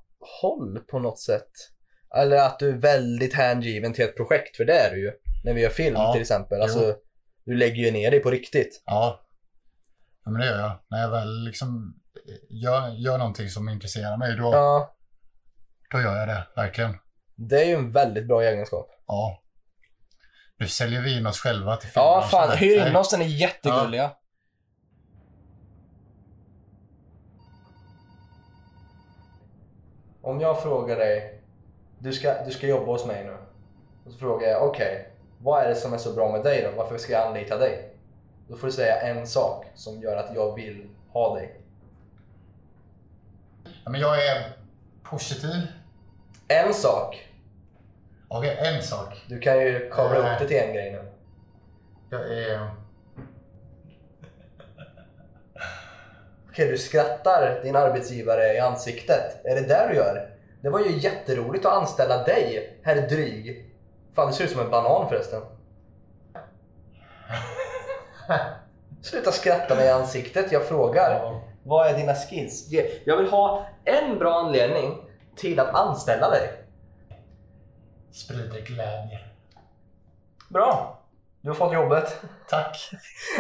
S1: håll på något sätt. Eller att du är väldigt hängiven till ett projekt, för det är du ju. När vi gör film
S2: Ja,
S1: till exempel. Alltså, du lägger ju ner dig på riktigt.
S2: Ja. ja, men det gör jag. När jag väl liksom gör, gör någonting som intresserar mig, då,
S1: Ja,
S2: då gör jag det. Verkligen.
S1: det är ju en väldigt bra egenskap.
S2: Ja. Nu säljer vi in oss själva till
S1: Ja,
S2: filmbranschen
S1: fan.
S2: här.
S1: Hyr
S2: Nej.
S1: in oss, den är jättegulliga. Om jag frågar dig, du ska, du ska jobba hos mig nu. Och så frågar jag, okej, vad är det som är så bra med dig då? Varför ska jag anlita dig? Då får du säga en sak som gör att jag vill ha dig.
S2: Ja, men jag är positiv.
S1: En sak.
S2: Okej, en sak.
S1: Du kan ju kavla upp det till en grej nu.
S2: Jag är...
S1: Okej, du skrattar din arbetsgivare i ansiktet. Är det där du gör? Det var ju jätteroligt att anställa dig, herr Dryg. Fan, du ser ut som en banan förresten. Sluta skratta mig i ansiktet, jag frågar. Vad är dina skills? Ge- Jag vill ha en bra anledning till att anställa dig.
S2: Sprider glädje.
S1: Bra. Du har fått jobbet.
S2: Tack.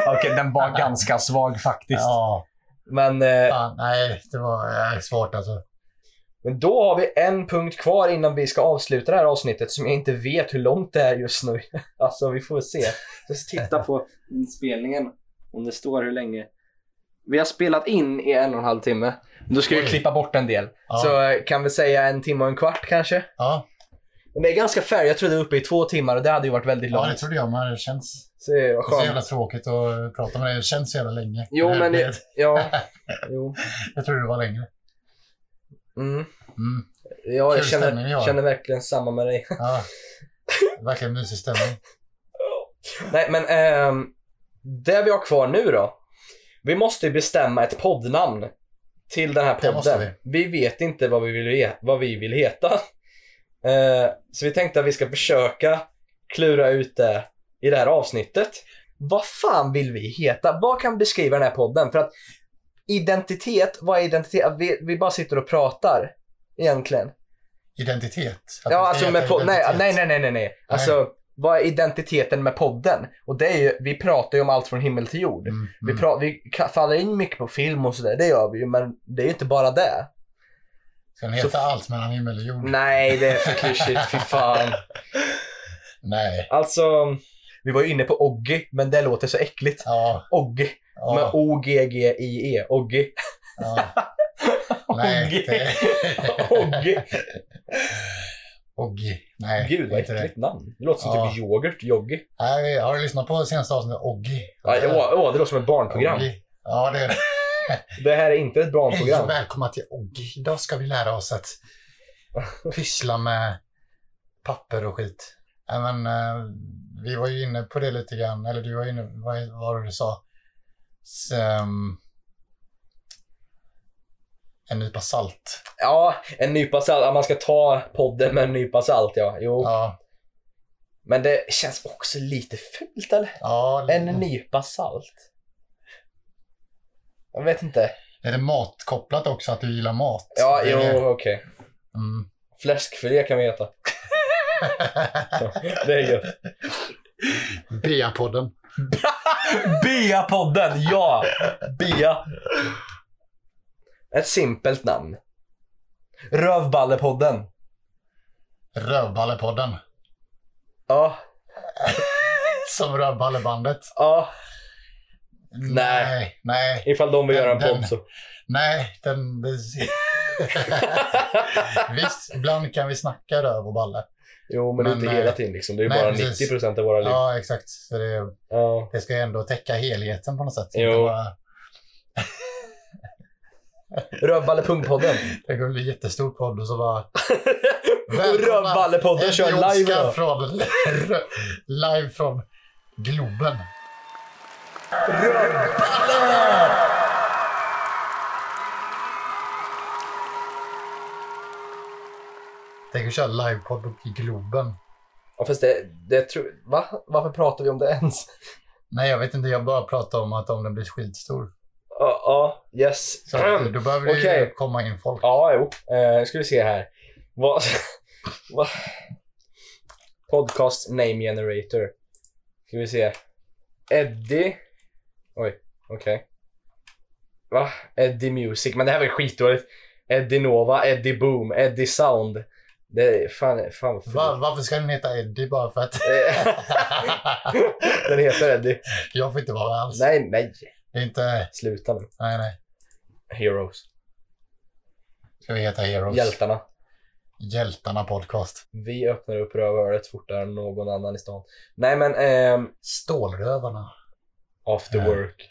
S3: Okej, den var ganska svag faktiskt.
S2: Ja,
S1: Men, eh,
S2: fan. Nej, det var nej, svårt alltså.
S1: men då har vi en punkt kvar innan vi ska avsluta det här avsnittet som jag inte vet hur långt det är just nu. Alltså, vi får se.
S7: Jag ska titta på inspelningen om det står hur länge.
S1: Vi har spelat in i en och en halv timme. Då ska vi
S2: Oj.
S1: klippa bort en del.
S2: Ja.
S1: Så eh, kan vi säga en timme och en kvart kanske.
S2: Ja,
S1: Men det är ganska fair. Jag trodde uppe i två timmar och det hade ju varit väldigt
S2: ja det
S1: långt.
S2: trodde jag med. Det känns
S1: Så det var
S2: det är så
S1: skönt.
S2: jävla tråkigt att eh, prata med dig. Det känns så jävla länge.
S1: Jo,
S2: Det-
S1: men det-
S2: det-
S1: Ja. Jo.
S2: Jag trodde det var längre.
S1: Mm.
S2: Mm.
S1: Ja,
S2: Kul
S1: jag känner,
S2: stämning vi har.
S1: känner verkligen samma med dig.
S2: Ja. Verkligen mysig stämning.
S1: Nej, men ehm, det vi har kvar nu då. Vi måste ju bestämma ett poddnamn till den här
S2: Det måste
S1: podden. Vi. vet inte vad vi vill, he- vad vi vill heta. Eh, så vi tänkte att vi ska försöka klura ut det i det här avsnittet. Vad fan vill vi heta? Vad kan beskriva den här podden? För att identitet, vad är identitet? Vi, vi bara sitter och pratar egentligen.
S2: Identitet. Att vi
S1: Ja,
S2: ska
S1: alltså
S2: heta
S1: med pod- nej,
S2: identitet.
S1: nej, nej, nej, nej, nej. Alltså, vad är identiteten med podden? Och det är ju, vi pratar ju om allt från himmel till jord.
S2: Mm,
S1: Vi,
S2: mm.
S1: pra- vi ka- faller in mycket på film och sådär, det gör vi ju, men det är ju inte bara det.
S2: Ska den heta
S1: så-
S2: allt mellan himmel och jord?
S1: Nej, det är för klyschigt, fy fan.
S2: Nej.
S1: Alltså, vi var ju inne på Oggy, men det låter så äckligt.
S2: Ja.
S1: Oggy, med
S2: ja,
S1: O-G-G-I-E, E. Oggy.
S2: ja. Nej. Det...
S1: Oggy.
S2: Oggi. Nej,
S1: Gud vad
S2: inte det.
S1: äckligt namn. Det låter som typ yoghurt, Joggy.
S2: Nej, har du lyssnat på senaste avsnittet? Oggi.
S1: Ja, åh, åh, det låter som ett barnprogram.
S2: Oggi. Ja, det är det.
S1: Det här är inte ett
S2: Hej
S1: barnprogram.
S2: och välkomna till Oggi. Idag ska vi lära oss att pyssla med papper och skit. Nej, men, eh, vi var ju inne på det lite grann, eller du var inne vad vad var det du sa? S, ehm, en nypa salt.
S1: Ja, en nypa salt. Ja, man ska ta podden med en nypa salt, ja. Jo.
S2: Ja,
S1: Men det känns också lite fult, eller?
S2: ja,
S1: En nypa salt. Jag vet inte.
S2: Är det matkopplat också, att du gillar mat?
S1: Ja,
S2: Det är
S1: jo,
S2: det.
S1: okej.
S2: Mm.
S1: Fläskfilé kan vi heta. Det är gött.
S2: BA-podden.
S1: Bia-podden, ja! Bia. Ett simpelt namn. Rövballepodden.
S2: Rövballepodden.
S1: Ja,
S2: Som Rövballebandet.
S1: ja.
S2: Nej. Nej.
S1: Ifall de vill göra en podd så.
S2: Nej. Den, det... Visst, ibland kan vi snacka röv och balle.
S1: Jo, men,
S2: Men,
S1: inte
S2: eh,
S1: hela tiden liksom. Det är ju
S2: nej,
S1: bara
S2: precis.
S1: 90% av våra liv.
S2: Ja, exakt. Så det,
S1: Ja.
S2: det ska ju ändå täcka helheten på något sätt.
S1: Jo.
S2: Inte bara-
S1: Rövballepungpodden.
S2: Det kommer bli en jättestor podd och så bara...
S1: Och Rövballepodden kör
S2: Eddie
S1: live
S2: Oskar
S1: då.
S2: från, live från Globen. Tänk att köra livepodd i Globen.
S1: Ja, fast det, det tror... Va? Varför pratar vi om det ens?
S2: Nej, jag vet inte. Jag bara pratar om att om den blir skitstor.
S1: Ja, ja. Yes.
S2: Så att då behöver det ju
S1: Okej.
S2: komma in folk.
S1: Ja, jo. Eh, ska vi se här. Vad... vad- Podcast name generator. Ska vi se. Eddie. Oj, okej. Va? Eddie Music. Men det här var ju skitdåligt. Eddie Nova, Eddie Boom, Eddie Sound. Det är fan... fan vad
S2: Va- varför ska den heta Eddie bara för att
S1: Eh, Den heter Eddie.
S2: jag får inte vara med alls?
S1: Nej, nej.
S2: Det är inte...
S1: Sluta nu.
S2: Nej, nej.
S1: Heroes.
S2: Ska vi heta Heroes?
S1: Hjältarna.
S2: Hjältarna podcast.
S1: Vi öppnar upp rövöret fortare än någon annan i stan. Nej men, ehm,
S2: Stålrövarna.
S1: after
S2: Ja.
S1: work.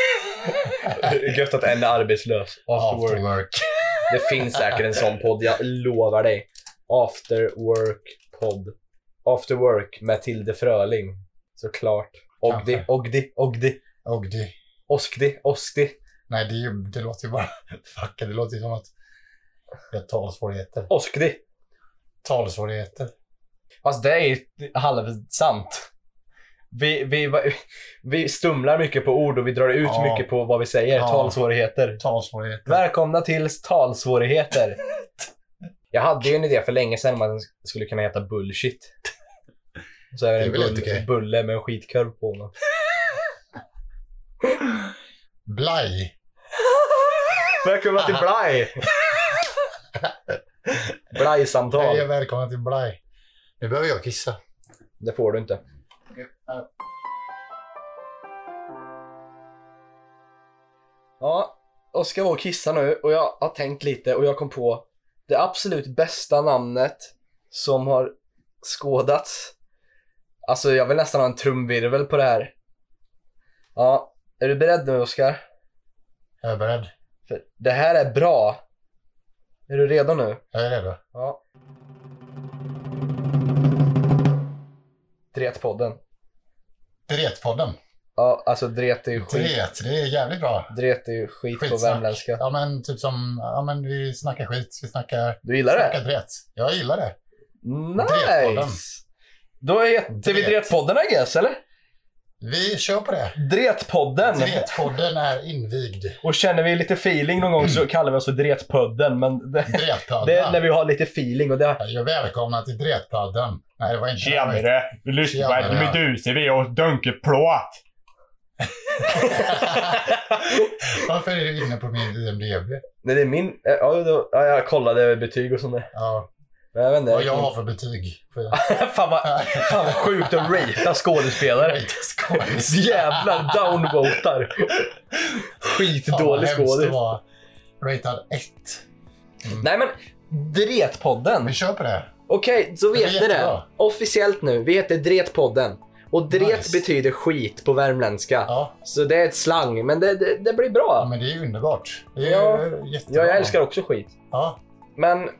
S1: Gött att en är arbetslös. After
S2: After
S1: work.
S2: work.
S1: Det finns säkert en sån podd, jag lovar dig. After work podd. After work Matilde Fröling. Såklart. Ogdi,
S2: Kanske.
S1: Ogdi, Ogdi.
S2: Och det,
S1: Oskdi, Oskdi.
S2: nej, det, är ju- det låter ju bara... Fuck, det låter ju som att jag har talsvårigheter.
S1: Oskdi.
S2: Talsvårigheter.
S1: Fast det är ju halvsant. Vi, vi, vi stumlar mycket på ord och vi drar ut
S2: Ja.
S1: mycket på vad vi säger.
S2: Ja.
S1: Talsvårigheter.
S2: Talsvårigheter.
S1: Välkomna till talsvårigheter. Jag hade ju en idé för länge sedan om att den skulle kunna heta bullshit. Så är det
S2: Det är
S1: en
S2: väl
S1: bull,
S2: inte okej.
S1: bulle med en skitkorv på honom.
S2: Blaj.
S1: Välkomna till Blaj! Blaj-samtal.
S2: Hej och välkomna till Blaj. Nu behöver jag kissa.
S1: Det får du inte. Ja, Oskar var och kissa nu och jag har tänkt lite och jag kom på det absolut bästa namnet som har skådats. Alltså jag vill nästan ha en trumvirvel på det här. Ja, är du beredd nu Oskar?
S2: Jag är beredd.
S1: För det här är bra. Är du redo nu?
S2: Jag är redo.
S1: Ja. Dretpodden.
S2: Dretpodden.
S1: Ja, alltså dret är ju skit.
S2: Dret, det är jävligt bra.
S1: Dret är ju skit på
S2: Skitsnack.
S1: värmländska.
S2: Ja men typ som, ja men vi snackar skit, vi snackar,
S1: Du gillar det?
S2: snackar dret. Jag gillar det. Dretpodden.
S1: Nice! Då heter vi
S2: Dret.
S1: Dretpodden I guess, eller?
S2: Vi kör på det.
S1: Dretpodden!
S2: Dretpodden är invigd.
S1: Och känner vi lite feeling någon gång
S2: Mm.
S1: så kallar vi oss för Dretpodden, men det, det är när
S2: Dretpodden.
S1: vi har lite feeling och det...
S2: Jag välkomna till Dretpodden. Nej, det var inte
S5: Tjenare! Vi lyssnar på ett
S2: Tjenare.
S5: Medusa. Vi åt dunkelplåt.
S2: Varför är du inne på min IMDB?
S1: Nej, det är min... eh, Ja, då, ja, jag kollade betyg och sånt där.
S2: Ja,
S1: Men jag vet inte.
S2: vad jag har för betyg.
S1: fan, vad, fan vad sjukt att ratea skådespelare. Jävlar downvotar. Skitdålig skådis.
S2: var Mm. ratad 1.
S1: Nej men, Dretpodden.
S2: Vi kör på det.
S1: Okej, så
S2: Det är
S1: vet ni det.
S2: jättebra.
S1: Officiellt nu, vi heter Dretpodden. Och dret
S2: Nice.
S1: betyder skit på värmländska.
S2: Ja, Mm.
S1: Så det är ett slang, men det, det, det blir
S2: ja,
S1: bra.
S2: men det är ju underbart. Det är
S1: Ja.
S2: jättebra.
S1: Ja, jag älskar också skit.
S2: Ja,
S1: Men,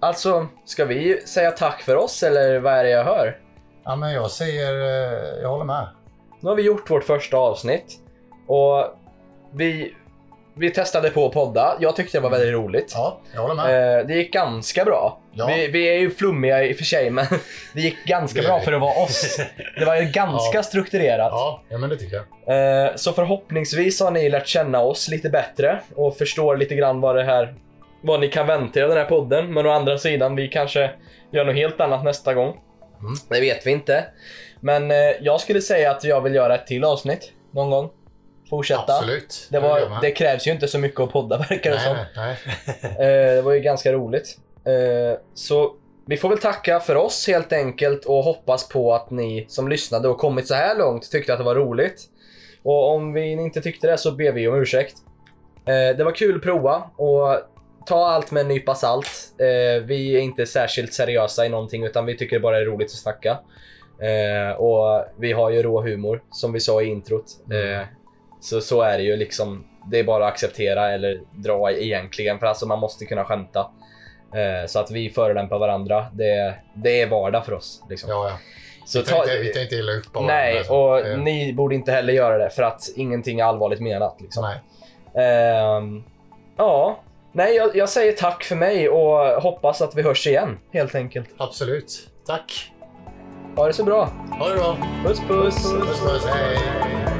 S1: alltså, ska vi säga tack för oss eller vad är det jag hör?
S2: ja men jag säger, eh, jag håller med.
S1: Nu har vi gjort vårt första avsnitt och vi, vi testade på att podda. Jag tyckte det var väldigt roligt.
S2: Ja, jag håller med.
S1: Eh, det gick ganska bra.
S2: Ja.
S1: Vi, vi är ju flummiga i och för sig, men det gick ganska
S2: Det är
S1: bra
S2: vi.
S1: för att vara oss. Det var ju ganska
S2: Ja.
S1: strukturerat.
S2: Ja, ja, men det tycker jag.
S1: Eh, Så förhoppningsvis har ni lärt känna oss lite bättre och förstår lite grann vad det här vad ni kan vänta er av den här podden. Men å andra sidan, vi kanske gör något helt annat nästa gång.
S2: Mm.
S1: Det vet vi inte. Men eh, jag skulle säga att jag vill göra ett till avsnitt någon gång. Fortsätta.
S2: Absolut.
S1: Det,
S2: gör
S1: var,
S2: man.
S1: det krävs ju inte så mycket att podda verkar det
S2: nej,
S1: som.
S2: nej, nej.
S1: Eh, Det var ju ganska roligt. Eh, Så vi får väl tacka för oss helt enkelt och hoppas på att ni som lyssnade och kommit så här långt tyckte att det var roligt. Och om vi inte tyckte det så ber vi om ursäkt. Eh, Det var kul att prova och ta allt med en nypa salt. Eh, Vi är inte särskilt seriösa i någonting utan vi tycker bara det är roligt att snacka. Eh, Och vi har ju rå humor som vi sa i introt. Eh, så, så är det ju liksom. Det är bara att acceptera eller dra egentligen. För alltså man måste kunna skämta. Eh, så att vi förolämpar varandra. Det, det är vardag för oss. Liksom.
S2: Ja, ja.
S1: så
S2: Vi tar inte- vi tar inte illa upp bara.
S1: nej,
S2: Alltså.
S1: och
S2: Eh,
S1: ni borde inte heller göra det. För att ingenting är allvarligt menat. Liksom.
S2: nej.
S1: Ehm, ja, nej jag, jag säger tack för mig och hoppas att vi hörs igen. Helt enkelt.
S2: Absolut. Tack.
S1: Ha det så bra.
S2: Ha det bra.
S1: Puss puss.
S2: Puss, puss. Hej.